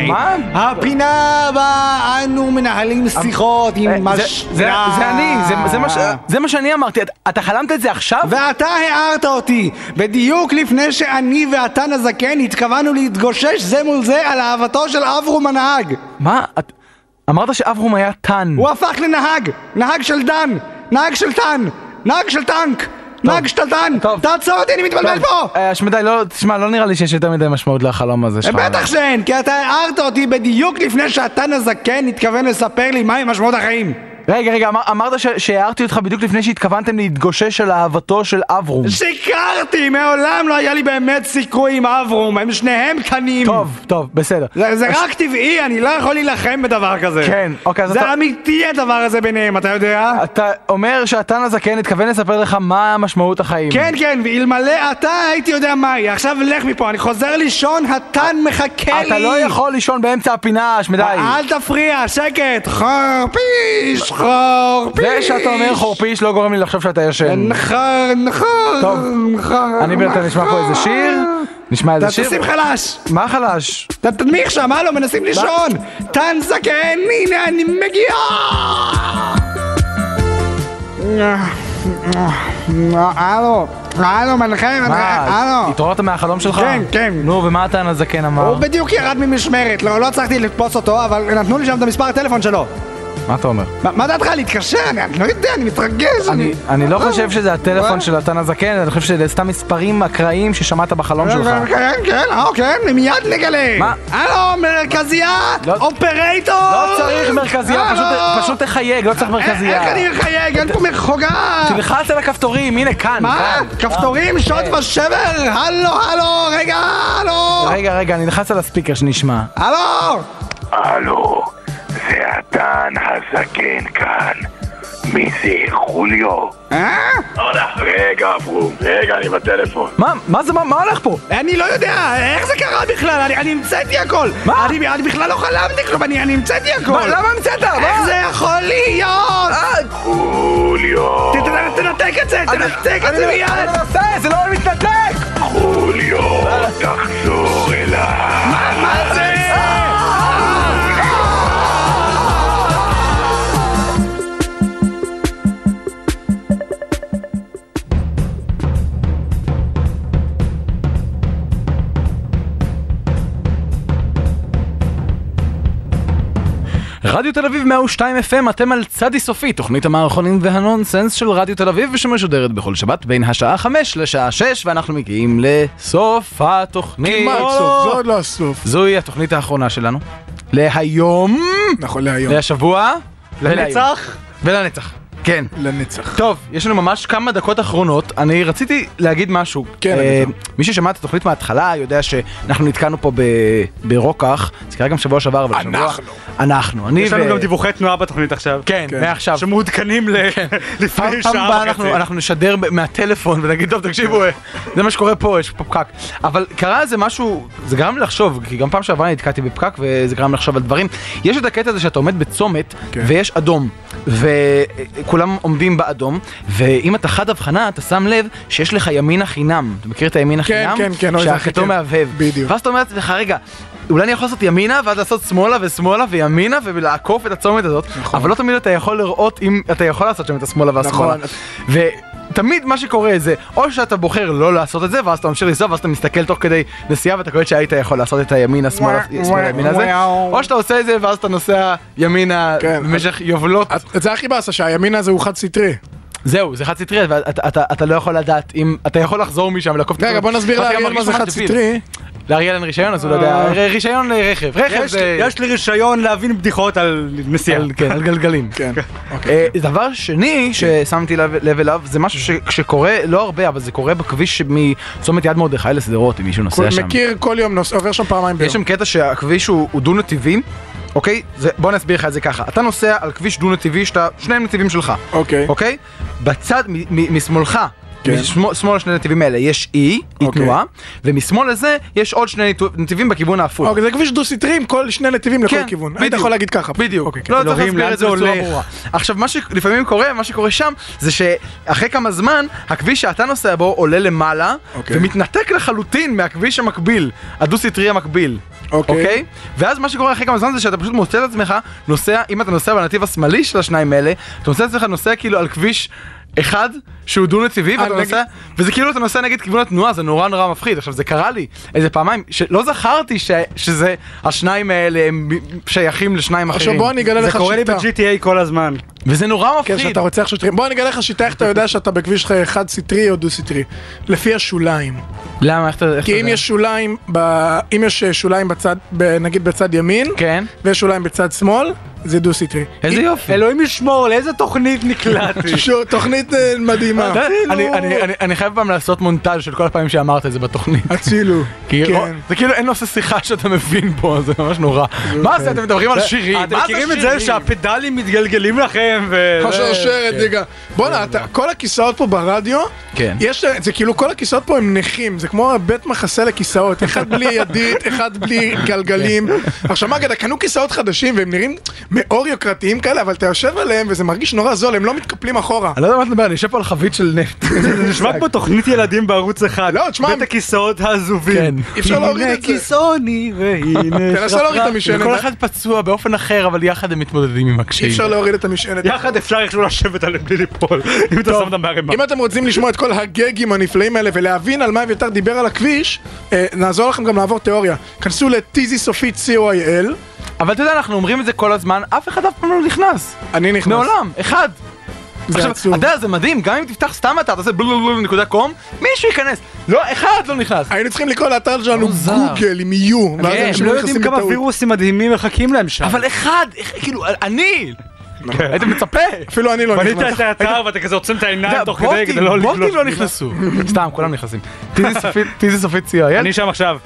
Speaker 10: מה?
Speaker 2: הפינה בה אנו מנהלים שיחות עם
Speaker 10: אה, זה-
Speaker 2: השמדי.
Speaker 10: זה זה אני, זה- זה מה
Speaker 2: אה.
Speaker 10: ש- זה מה שאני אמרתי, את- אתה חלמת את זה עכשיו?
Speaker 2: ואתה הערת אותי, בדיוק לפני שאני והתן הזקן התכוונו להתגושש זה מול זה על אהבתו של אברום הנהג.
Speaker 10: מה? את- אמרת שאברום היה תן.
Speaker 2: הוא הפך לנהג, נהג של דן, נהג של תן, נהג של טנק, נהג של תן, תעצור אותי, אני מתבלבל פה!
Speaker 10: טוב, אה, שמדי, לא, תשמע, לא נראה לי שיש יותר מדי משמעות לחלום הזה שלך.
Speaker 2: בטח שאין, כי אתה הערת אותי בדיוק לפני שהתן הזקן התכוון לספר לי מהי משמעות החיים.
Speaker 10: רגע, רגע, אמר- אמרת ש- שהערתי אותך בדיוק לפני שהתכוונתם להתגושש על אהבתו של אברום.
Speaker 2: שיקרתי, מעולם לא היה לי באמת סיכוי עם אברום, הם שניהם קטנים.
Speaker 10: טוב, טוב, בסדר.
Speaker 2: זה, זה
Speaker 10: אז-
Speaker 2: רק טבעי, אני לא יכול להילחם בדבר כזה.
Speaker 10: כן, אוקיי, אז
Speaker 2: זה
Speaker 10: אתה- אה,
Speaker 2: אמיתי הדבר הזה ביניהם, אתה יודע?
Speaker 10: אתה אומר שהתן הזקן התכוון לספר לך מה משמעות החיים.
Speaker 2: כן, כן, ואלמלא אתה הייתי יודע מהי. עכשיו לך מפה, אני חוזר לישון, התן מחכה כן לי.
Speaker 10: אתה לא יכול לישון באמצע הפינה, שמדי.
Speaker 2: אל תפריע, שקט. חרפיש, חרפיש.
Speaker 10: זה שאתה אומר חורפיש לא גורם לי לחשוב שאתה ישן.
Speaker 2: נחר, נחר,
Speaker 10: טוב,
Speaker 2: נחר.
Speaker 10: אני בינתיים נשמע פה איזה שיר, נשמע איזה שיר.
Speaker 2: אה, תשים חלש.
Speaker 10: מה חלש?
Speaker 2: אתה תנמיך שם, הלו, מנסים לישון. תן זקן, הנה אני מגיע. הלו, הלו, מנחה, מנחה,
Speaker 10: מה, אה,
Speaker 2: הלו.
Speaker 10: התעוררת מהחלום שלך?
Speaker 2: אה, כן, כן.
Speaker 10: נו, ומה התן הזקן אמר?
Speaker 2: הוא בדיוק ירד ממשמרת, לא, לא הצלחתי לתפוס אותו, אבל נתנו לי שם את המספר הטלפון שלו.
Speaker 10: מה אתה אומר?
Speaker 2: מה- מה דעתך להתקשר? אני אני לא יודע, אני אה, מתרגש.
Speaker 10: אני- אני לא חושב שזה הטלפון של התן הזקן, אני חושב שזה סתם מספרים אקראיים ששמעת בחלום שלך.
Speaker 2: כן, כן, אה, כן, מיד נגלה.
Speaker 10: מה?
Speaker 2: הלו, מרכזייה, אופרטור.
Speaker 10: לא
Speaker 2: אה,
Speaker 10: צריך מרכזייה, פשוט-
Speaker 2: הלו.
Speaker 10: פשוט תחייג, לא צריך מרכזייה.
Speaker 2: אה. איך אני מחייג? אין פה מחוגה.
Speaker 10: תלחץ על הכפתורים, הנה כאן.
Speaker 2: מה?
Speaker 10: כאן.
Speaker 2: כפתורים,
Speaker 10: כאן.
Speaker 2: שוד
Speaker 10: כן.
Speaker 2: ושבר? הלו, הלו, רגע, הלו.
Speaker 10: אה, רגע, רגע, אני נלחץ על הספיקר שנשמע.
Speaker 2: הלו.
Speaker 6: הלו, זה התן הזקן כאן. מי זה חוליו?
Speaker 2: אה?
Speaker 6: הלך, לא, רגע, אברום, רגע, אני בטלפון.
Speaker 10: מה? מה זה? מה מה הולך פה?
Speaker 2: אני לא יודע, איך זה קרה בכלל? אני- אני המצאתי הכל.
Speaker 10: מה?
Speaker 2: אני אני בכלל לא חלמתי כלום, אני אני המצאתי הכל.
Speaker 10: מה, למה המצאת?
Speaker 2: איך
Speaker 10: מה? אה,
Speaker 2: זה יכול להיות?
Speaker 6: חוליו,
Speaker 2: ת- ת- תנתק את זה, תנתק את
Speaker 10: אני
Speaker 2: זה
Speaker 10: לא-
Speaker 2: מיד.
Speaker 10: אני מנסה, זה לא מתנתק!
Speaker 6: חוליו, תחזור אליי.
Speaker 2: מה זה?
Speaker 10: רדיו תל אביב 102 FM, אתם על צדי סופי, תוכנית המערכונים והנונסנס של רדיו תל אביב, ושמשודרת בכל שבת בין השעה 5 לשעה 6, ואנחנו מגיעים לסוף התוכנית.
Speaker 4: כמעט סוף, זה עוד לא הסוף.
Speaker 10: זוהי התוכנית האחרונה שלנו. להיום.
Speaker 4: נכון, להיום.
Speaker 10: להשבוע.
Speaker 4: לנצח?
Speaker 10: ולנצח. כן.
Speaker 4: לנצח.
Speaker 10: טוב, יש לנו ממש כמה דקות אחרונות. אני רציתי להגיד משהו.
Speaker 4: כן,
Speaker 10: אה,
Speaker 4: בטח.
Speaker 10: מי ששמע את התוכנית מההתחלה יודע שאנחנו נתקענו פה ב- ברוקח, זה קרה גם שבוע שעבר, אבל שבוע...
Speaker 4: אנחנו.
Speaker 10: אנחנו, אני
Speaker 2: יש לנו גם דיווחי תנועה בתוכנית עכשיו.
Speaker 10: כן, מעכשיו.
Speaker 2: שמעודכנים ל-
Speaker 10: פעם
Speaker 2: לפני
Speaker 10: פעם הבאה
Speaker 2: שעה
Speaker 10: אנחנו,
Speaker 2: וחצי.
Speaker 10: אנחנו נשדר ב- מהטלפון ונגיד, טוב, תקשיבו, אה, זה מה שקורה פה, יש פה פקק. אבל קרה איזה משהו, זה גרם לי לחשוב, כי גם פעם שעברה נתקעתי בפקק וזה גרם לי לחשוב על דברים. יש את הקטע הזה שאתה עומד בצומת
Speaker 4: כן.
Speaker 10: ויש אדום, וכולם עומדים באדום, ואם אתה חד הבחנה, אתה שם לב שיש לך ימינה חינם. אתה מכיר את הימינה
Speaker 4: כן,
Speaker 10: חינם?
Speaker 4: כן, כן, אוי, זה הכי
Speaker 10: שהכתום
Speaker 4: כיף.
Speaker 10: מהבהב. בדיוק. ואז אתה אומר לעצמך, רגע, אולי אני יכול לעשות ימינה, ואז לעשות שמאלה ושמאלה וימינה, ולעקוף את הצומת הזאת,
Speaker 4: נכון.
Speaker 10: אבל לא תמיד אתה יכול לראות אם אתה יכול לעשות שם את השמאלה והשמאלה.
Speaker 4: נכון.
Speaker 10: ותמיד מה שקורה זה, או שאתה בוחר לא לעשות את זה, ואז אתה ממשיך לנסוע, ואז אתה מסתכל תוך כדי נסיעה, ואתה קולט שהיית יכול לעשות את הימינה, שמאלה,
Speaker 4: וואו,
Speaker 10: שמאלה, ימינה הזה,
Speaker 4: וואו. כן.
Speaker 10: או שאתה עושה את זה, ואז אתה נוסע ימינה במשך יובלות.
Speaker 4: זה הכי באסה, שהימין הזה הוא חד סטרי.
Speaker 10: זהו, זה חד סטרי, ואתה אתה- אתה לא יכול לדעת אם, אתה יכול לחזור משם, לעקוף את
Speaker 4: רגע,
Speaker 10: הצומת,
Speaker 4: בוא נסביר
Speaker 10: ואתה גם
Speaker 4: לאריאל
Speaker 10: מרגיש
Speaker 4: מה זה
Speaker 10: ממש
Speaker 4: חד
Speaker 10: דביל.
Speaker 4: סטרי.
Speaker 10: לאריאל אין רישיון, אז הוא לא יודע,
Speaker 2: אה.
Speaker 10: רישיון לרכב, רכב
Speaker 2: יש
Speaker 10: זה...
Speaker 2: לי- יש לי רישיון להבין בדיחות על נסיעה.
Speaker 10: כן, על גלגלים.
Speaker 4: כן.
Speaker 10: אה, דבר שני ששמתי לב לב אליו, זה משהו שכשקורה, לא הרבה, אבל זה קורה בכביש מצומת יד מרדכי לשדרות, אם מישהו נוסע שם.
Speaker 4: מכיר כל יום, נוס- עובר שם פעמיים ביום.
Speaker 10: יש שם קטע שהכביש הוא הוא דו-נתיבי, אוקיי? זה- בוא נסביר לך את זה ככה. אתה נוסע על כביש דו-נתיבי, שאתה, שניהם נתיבים שלך.
Speaker 4: אוקיי.
Speaker 10: אוקיי? בצד, מ- מ- משמאלך.
Speaker 4: כן.
Speaker 10: משמאל שמאל שני הנתיבים האלה יש אי, אי
Speaker 4: אוקיי.
Speaker 10: תנועה, ומשמאל לזה יש עוד שני ניתו- נתיבים בכיוון ההפוך.
Speaker 4: אוקיי, זה כביש דו-סטרי עם כל שני נתיבים לכל
Speaker 10: כן,
Speaker 4: כיוון. היית
Speaker 10: בדיוק.
Speaker 4: יכול להגיד ככה.
Speaker 10: בדיוק.
Speaker 4: אוקיי, כן.
Speaker 10: לא צריך
Speaker 4: אלוהים,
Speaker 10: להסביר
Speaker 4: לאן
Speaker 10: את זה בצורה
Speaker 4: הולך?
Speaker 10: ברורה. עכשיו, מה שלפעמים קורה, מה שקורה שם, זה שאחרי כמה זמן, הכביש שאתה נוסע בו עולה למעלה,
Speaker 4: אוקיי.
Speaker 10: ומתנתק לחלוטין מהכביש המקביל, הדו-סטרי המקביל.
Speaker 4: אוקיי.
Speaker 10: אוקיי? ואז מה שקורה אחרי כמה זמן זה שאתה פשוט מוצא את עצמך נוסע, אם אתה נוסע בנתיב השמאלי של השניים האלה, אתה מוצא את עצמך נוסע כאילו על כביש... אחד שהוא דו נתיבי
Speaker 4: אה,
Speaker 10: ואתה
Speaker 4: נגד-
Speaker 10: נוסע וזה כאילו אתה נוסע נגד כיוון התנועה זה נורא נורא מפחיד עכשיו זה קרה לי איזה פעמיים שלא זכרתי ש... שזה השניים האלה הם שייכים לשניים אחרים.
Speaker 4: עכשיו בוא אני אגלה לך שיטה.
Speaker 2: ב-GTA כל הזמן.
Speaker 10: וזה נורא מפחיד.
Speaker 4: כן, שאתה רוצח שוטרים. בוא אני אגלה לך שיטה איך אתה יודע שאתה בכביש חד סטרי או דו סטרי. לפי השוליים.
Speaker 10: למה? איך אתה... איך אתה
Speaker 4: כי אם
Speaker 10: יודע?
Speaker 4: יש שוליים, ב- אם יש אה, שוליים בצד, ב- נגיד בצד ימין,
Speaker 10: כן,
Speaker 4: ויש שוליים בצד שמאל, זה דו סטרי.
Speaker 10: איזה יופי.
Speaker 2: אלוהים ישמור, לאיזה תוכנית נקלעתי.
Speaker 4: תוכנית אה, מדהימה.
Speaker 10: אתה- אני- אני- אני- אני חייב פעם לעשות מונטאז' של כל הפעמים שאמרת את זה בתוכנית.
Speaker 4: הצילו.
Speaker 10: כי-
Speaker 4: כן.
Speaker 10: או- זה כאילו אין נושא שיחה שאתה מבין פה, זה ממש נורא.
Speaker 4: אוקיי.
Speaker 10: מה זה, אתם מדברים
Speaker 4: אה,
Speaker 10: על שירים?
Speaker 2: אתם
Speaker 10: מה
Speaker 2: מכירים את
Speaker 10: שירים?
Speaker 2: זה שהפדלים מתגלגלים לכם ו...
Speaker 10: כן.
Speaker 4: השרשרת, דיגה. אה, בואנה, אתה- כל הכיסאות פה ברדיו,
Speaker 10: כן.
Speaker 4: יש, זה כאילו כל הכיסאות פה הם נכים, זה כמו בית מחסה לכיסאות, אחד בלי ידית, אחד בלי גלגלים. עכשיו מה, גדה, קנו כיסאות חדשים והם נראים מאור יוקרתיים כאלה, אבל אתה יושב עליהם וזה מרגיש נורא זול, הם לא מתקפלים אחורה.
Speaker 10: אני לא יודע מה אתה מדבר, אני יושב פה על חבית של נפט.
Speaker 2: זה נשמע כמו תוכנית ילדים בערוץ אחד.
Speaker 4: לא, תשמע,
Speaker 2: בית הכיסאות העזובים.
Speaker 10: כן.
Speaker 4: אי אפשר להוריד את זה.
Speaker 2: הנה כיסאוני והנה
Speaker 4: תנסה להוריד את המשענת.
Speaker 10: כל אחד פצוע באופן אחר, אבל יחד הם מתמודדים עם
Speaker 4: אי
Speaker 10: הקשיים.
Speaker 4: אפשר להוריד את המשענת.
Speaker 2: יחד אפשר איכשהו לשבת עליהם בלי ליפול, אם אתה שם אותם בערימה.
Speaker 4: אם אתם רוצים לשמוע את כל הגגים הנפלאים האלה ולהבין על מה אביתר דיבר על הכביש, אה, נעזור לכם גם לעבור תיאוריה. כנסו לטיזי סופית co.il,
Speaker 10: אבל אתה יודע, אנחנו אומרים את זה כל הזמן, אף אחד אף פעם לא נכנס.
Speaker 4: אני נכנס.
Speaker 10: מעולם, אחד.
Speaker 4: זה
Speaker 10: עכשיו,
Speaker 4: עצוב.
Speaker 10: אתה יודע, זה מדהים, גם אם תפתח סתם אתר, תעשה בלולולול נקודה קום, מישהו ייכנס. לא, אחד לא נכנס.
Speaker 4: היינו צריכים לקרוא לאתר שלנו
Speaker 10: מוזר.
Speaker 4: גוגל עם יו, ואז
Speaker 10: הם
Speaker 4: אנשים
Speaker 2: הם לא יודעים
Speaker 4: נכנסים
Speaker 2: כמה
Speaker 4: בטעות.
Speaker 2: וירוסים מדהימים מחכים להם שם.
Speaker 10: אבל אחד, איך- כאילו, אני!
Speaker 4: נכון.
Speaker 10: היית מצפה!
Speaker 4: אפילו אני לא
Speaker 2: בנית
Speaker 4: נכנס.
Speaker 2: את האתר ואתה כזה עוצם את
Speaker 10: אה,
Speaker 2: העיניים תוך כדי
Speaker 10: בוטים,
Speaker 2: כדי לא לגלוש.
Speaker 10: בוטים לא
Speaker 2: פנימה.
Speaker 10: נכנסו. סתם, כולם נכנסים. טיזי סופית- טיזי סופית co.il.
Speaker 2: אני שם עכשיו.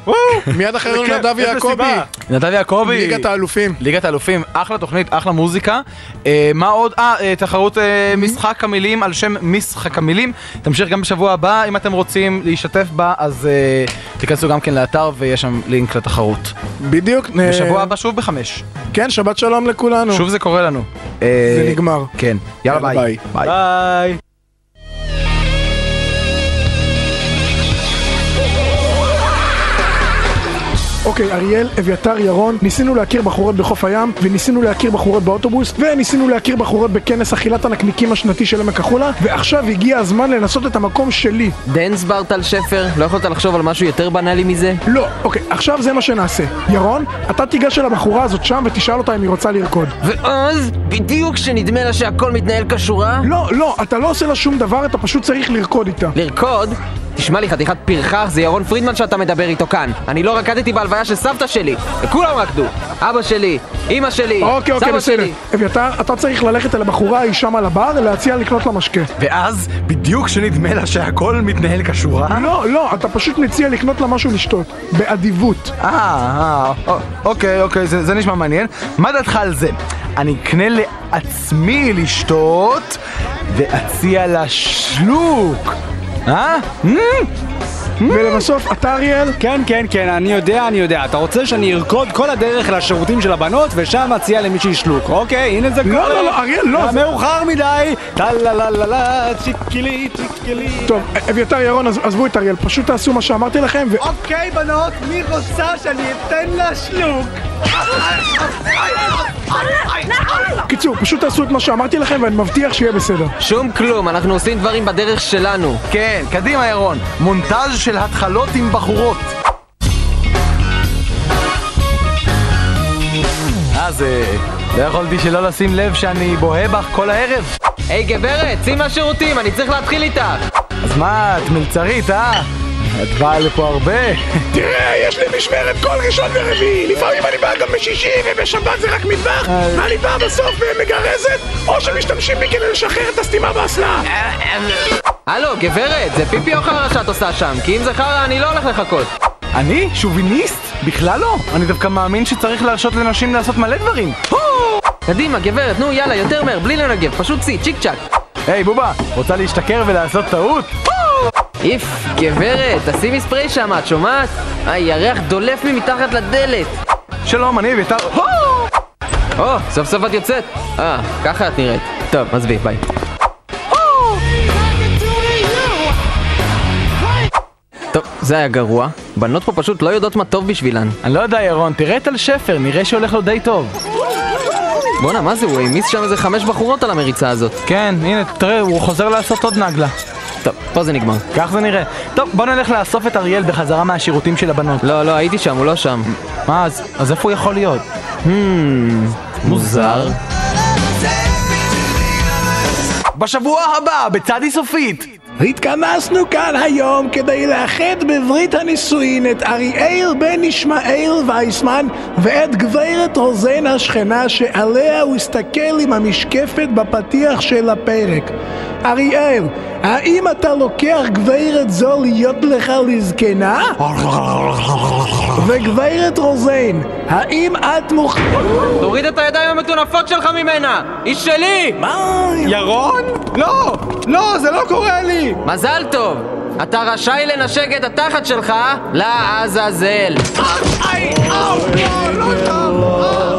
Speaker 4: מיד אחרינו
Speaker 32: לא,
Speaker 2: זה כיף,
Speaker 4: נדב
Speaker 2: יש לו
Speaker 4: יעקבי,
Speaker 2: סיבה.
Speaker 10: נדב יעקבי.
Speaker 4: ליגת האלופים.
Speaker 10: ליגת האלופים, אחלה תוכנית, אחלה מוזיקה. אה, מה עוד? אה, אה, תחרות אה, משחק המילים על שם משחק המילים. תמשיך גם בשבוע הבא, אם אתם רוצים להשתתף בה, אז אה, תיכנסו גם כן לאתר ויש שם לינק לתחרות.
Speaker 4: בדיוק. אה,
Speaker 10: בשבוע הבא שוב בחמש.
Speaker 4: כן, שבת שלום לכולנו.
Speaker 10: שוב זה קורה לנו.
Speaker 4: זה נגמר.
Speaker 10: כן. יאללה
Speaker 4: יאללה,
Speaker 10: ביי.
Speaker 4: ביי.
Speaker 10: ביי.
Speaker 2: ביי.
Speaker 4: אוקיי, אריאל, אביתר, ירון, ניסינו להכיר בחורות בחוף הים, וניסינו להכיר בחורות באוטובוס, וניסינו להכיר בחורות בכנס אכילת הנקניקים השנתי של עמק החולה, ועכשיו הגיע הזמן לנסות את המקום שלי.
Speaker 3: דנס בר טל שפר, לא יכולת לחשוב על משהו יותר בנאלי מזה?
Speaker 4: לא, אוקיי, עכשיו זה מה שנעשה. ירון, אתה תיגש אל הבחורה הזאת שם ותשאל אותה אם היא רוצה לרקוד.
Speaker 3: ואז, בדיוק כשנדמה לה שהכל מתנהל כשורה,
Speaker 4: לא, לא, אתה לא עושה לה שום דבר, אתה פשוט צריך לרקוד איתה.
Speaker 3: לרקוד? תשמע לי חתיכת פרחח, זה ירון פרידמן שאתה מדבר איתו כאן. אני לא רקדתי בהלוויה של סבתא שלי. כולם רקדו. אבא שלי, אימא שלי,
Speaker 33: אוקיי, אוקיי,
Speaker 3: סבא
Speaker 33: בסדר.
Speaker 3: שלי.
Speaker 33: אביתר, אתה צריך ללכת אל הבחורה ההיא שם על הבר, להציע לקנות לה משקה.
Speaker 32: ואז, בדיוק שנדמה לה שהכל מתנהל כשורה?
Speaker 33: לא, לא, אתה פשוט מציע לקנות לה משהו לשתות. באדיבות.
Speaker 10: אה, אה, אוקיי, אוקיי, זה, זה נשמע מעניין. מה דעתך על זה? אני אקנה לעצמי לשתות, ואציע לה שלוק.
Speaker 2: אה?
Speaker 33: ולבסוף, אתה אריאל?
Speaker 2: כן, כן, כן, אני יודע, אני יודע. אתה רוצה שאני ארקוד כל הדרך לשירותים של הבנות, ושם אציע למישהי שלוק. אוקיי, הנה זה קורה.
Speaker 33: לא, לא, לא, אריאל, לא,
Speaker 2: זה
Speaker 33: זה-
Speaker 2: מאוחר מדי. טה לה לה לה לה, צ'יקילי, צ'יקילי.
Speaker 33: טוב, אביתר ירון, עז- עזבו את אריאל, פשוט תעשו מה שאמרתי לכם, ו...
Speaker 2: אוקיי, בנות, מי רוצה שאני אתן לה שלוק?
Speaker 33: קיצור, פשוט תעשו את מה שאמרתי לכם, ואני מבטיח שיהיה בסדר.
Speaker 3: שום כלום, אנחנו עושים דברים בדרך שלנו.
Speaker 10: כן, קדימה ירון, מונטאז' של התחלות עם בחורות. אז אה, לא יכולתי שלא לשים לב שאני בוהה בך כל הערב.
Speaker 3: היי גברת, צאי מהשירותים, אני צריך להתחיל איתך.
Speaker 10: אז מה, את מלצרית, אה? את באה לפה הרבה.
Speaker 4: תראה, יש לי משמרת כל ראשון ורביעי, לפעמים אני בא גם בשישי, ובשבת זה רק מטבח, ואני בא בסוף ומגרזת, או שמשתמשים בי כדי לשחרר את הסתימה באסלה.
Speaker 3: הלו, גברת, זה פיפי או חרא שאת עושה שם? כי אם זה חרא, אני לא הולך לחכות.
Speaker 10: אני? שוביניסט? בכלל לא. אני דווקא מאמין שצריך להרשות לנשים לעשות מלא דברים.
Speaker 3: קדימה, גברת, נו, יאללה, יותר מהר, בלי לנגב, פשוט צי, צ'יק צ'אק.
Speaker 10: היי, בובה, רוצה להשתכר ולעשות טעות?
Speaker 3: איף, גברת, תשימי ספרי שם, את שומעת? הירח דולף לי מתחת לדלת.
Speaker 10: שלום, אני אביתר...
Speaker 3: או, סוף סוף את יוצאת. אה, ככה את נראית. טוב, עזבי, ביי. טוב, זה היה גרוע. בנות פה פשוט לא יודעות מה טוב בשבילן.
Speaker 10: אני לא יודע, ירון, תראה את טל שפר, נראה שהולך לו די טוב.
Speaker 3: בואנה, מה זה, הוא העמיס שם איזה חמש בחורות על המריצה הזאת.
Speaker 10: כן, הנה, תראה, הוא חוזר לעשות עוד נגלה.
Speaker 3: טוב, פה זה נגמר.
Speaker 10: כך זה נראה. טוב, בוא נלך לאסוף את אריאל בחזרה מהשירותים של הבנות.
Speaker 3: לא, לא, הייתי שם, הוא לא שם.
Speaker 10: מה, אז, אז איפה הוא יכול להיות?
Speaker 3: מוזר.
Speaker 10: בשבוע הבא, בצדי סופית!
Speaker 4: התכנסנו כאן היום כדי לאחד בברית הנישואין את אריאל בן ישמעאל וייסמן ואת גברת רוזן השכנה שעליה הוא הסתכל עם המשקפת בפתיח של הפרק. אריאל, האם אתה לוקח גברת זו להיות לך לזקנה? וגברת רוזן, האם את מוכנה...
Speaker 3: תוריד את הידיים המטונפות שלך ממנה! היא שלי!
Speaker 4: מה?
Speaker 3: ירון?
Speaker 32: לא! לא, זה לא קורה לי!
Speaker 3: מזל טוב! אתה רשאי לנשק את התחת שלך לעזאזל.
Speaker 4: איי, אאו, לא, לא, לא.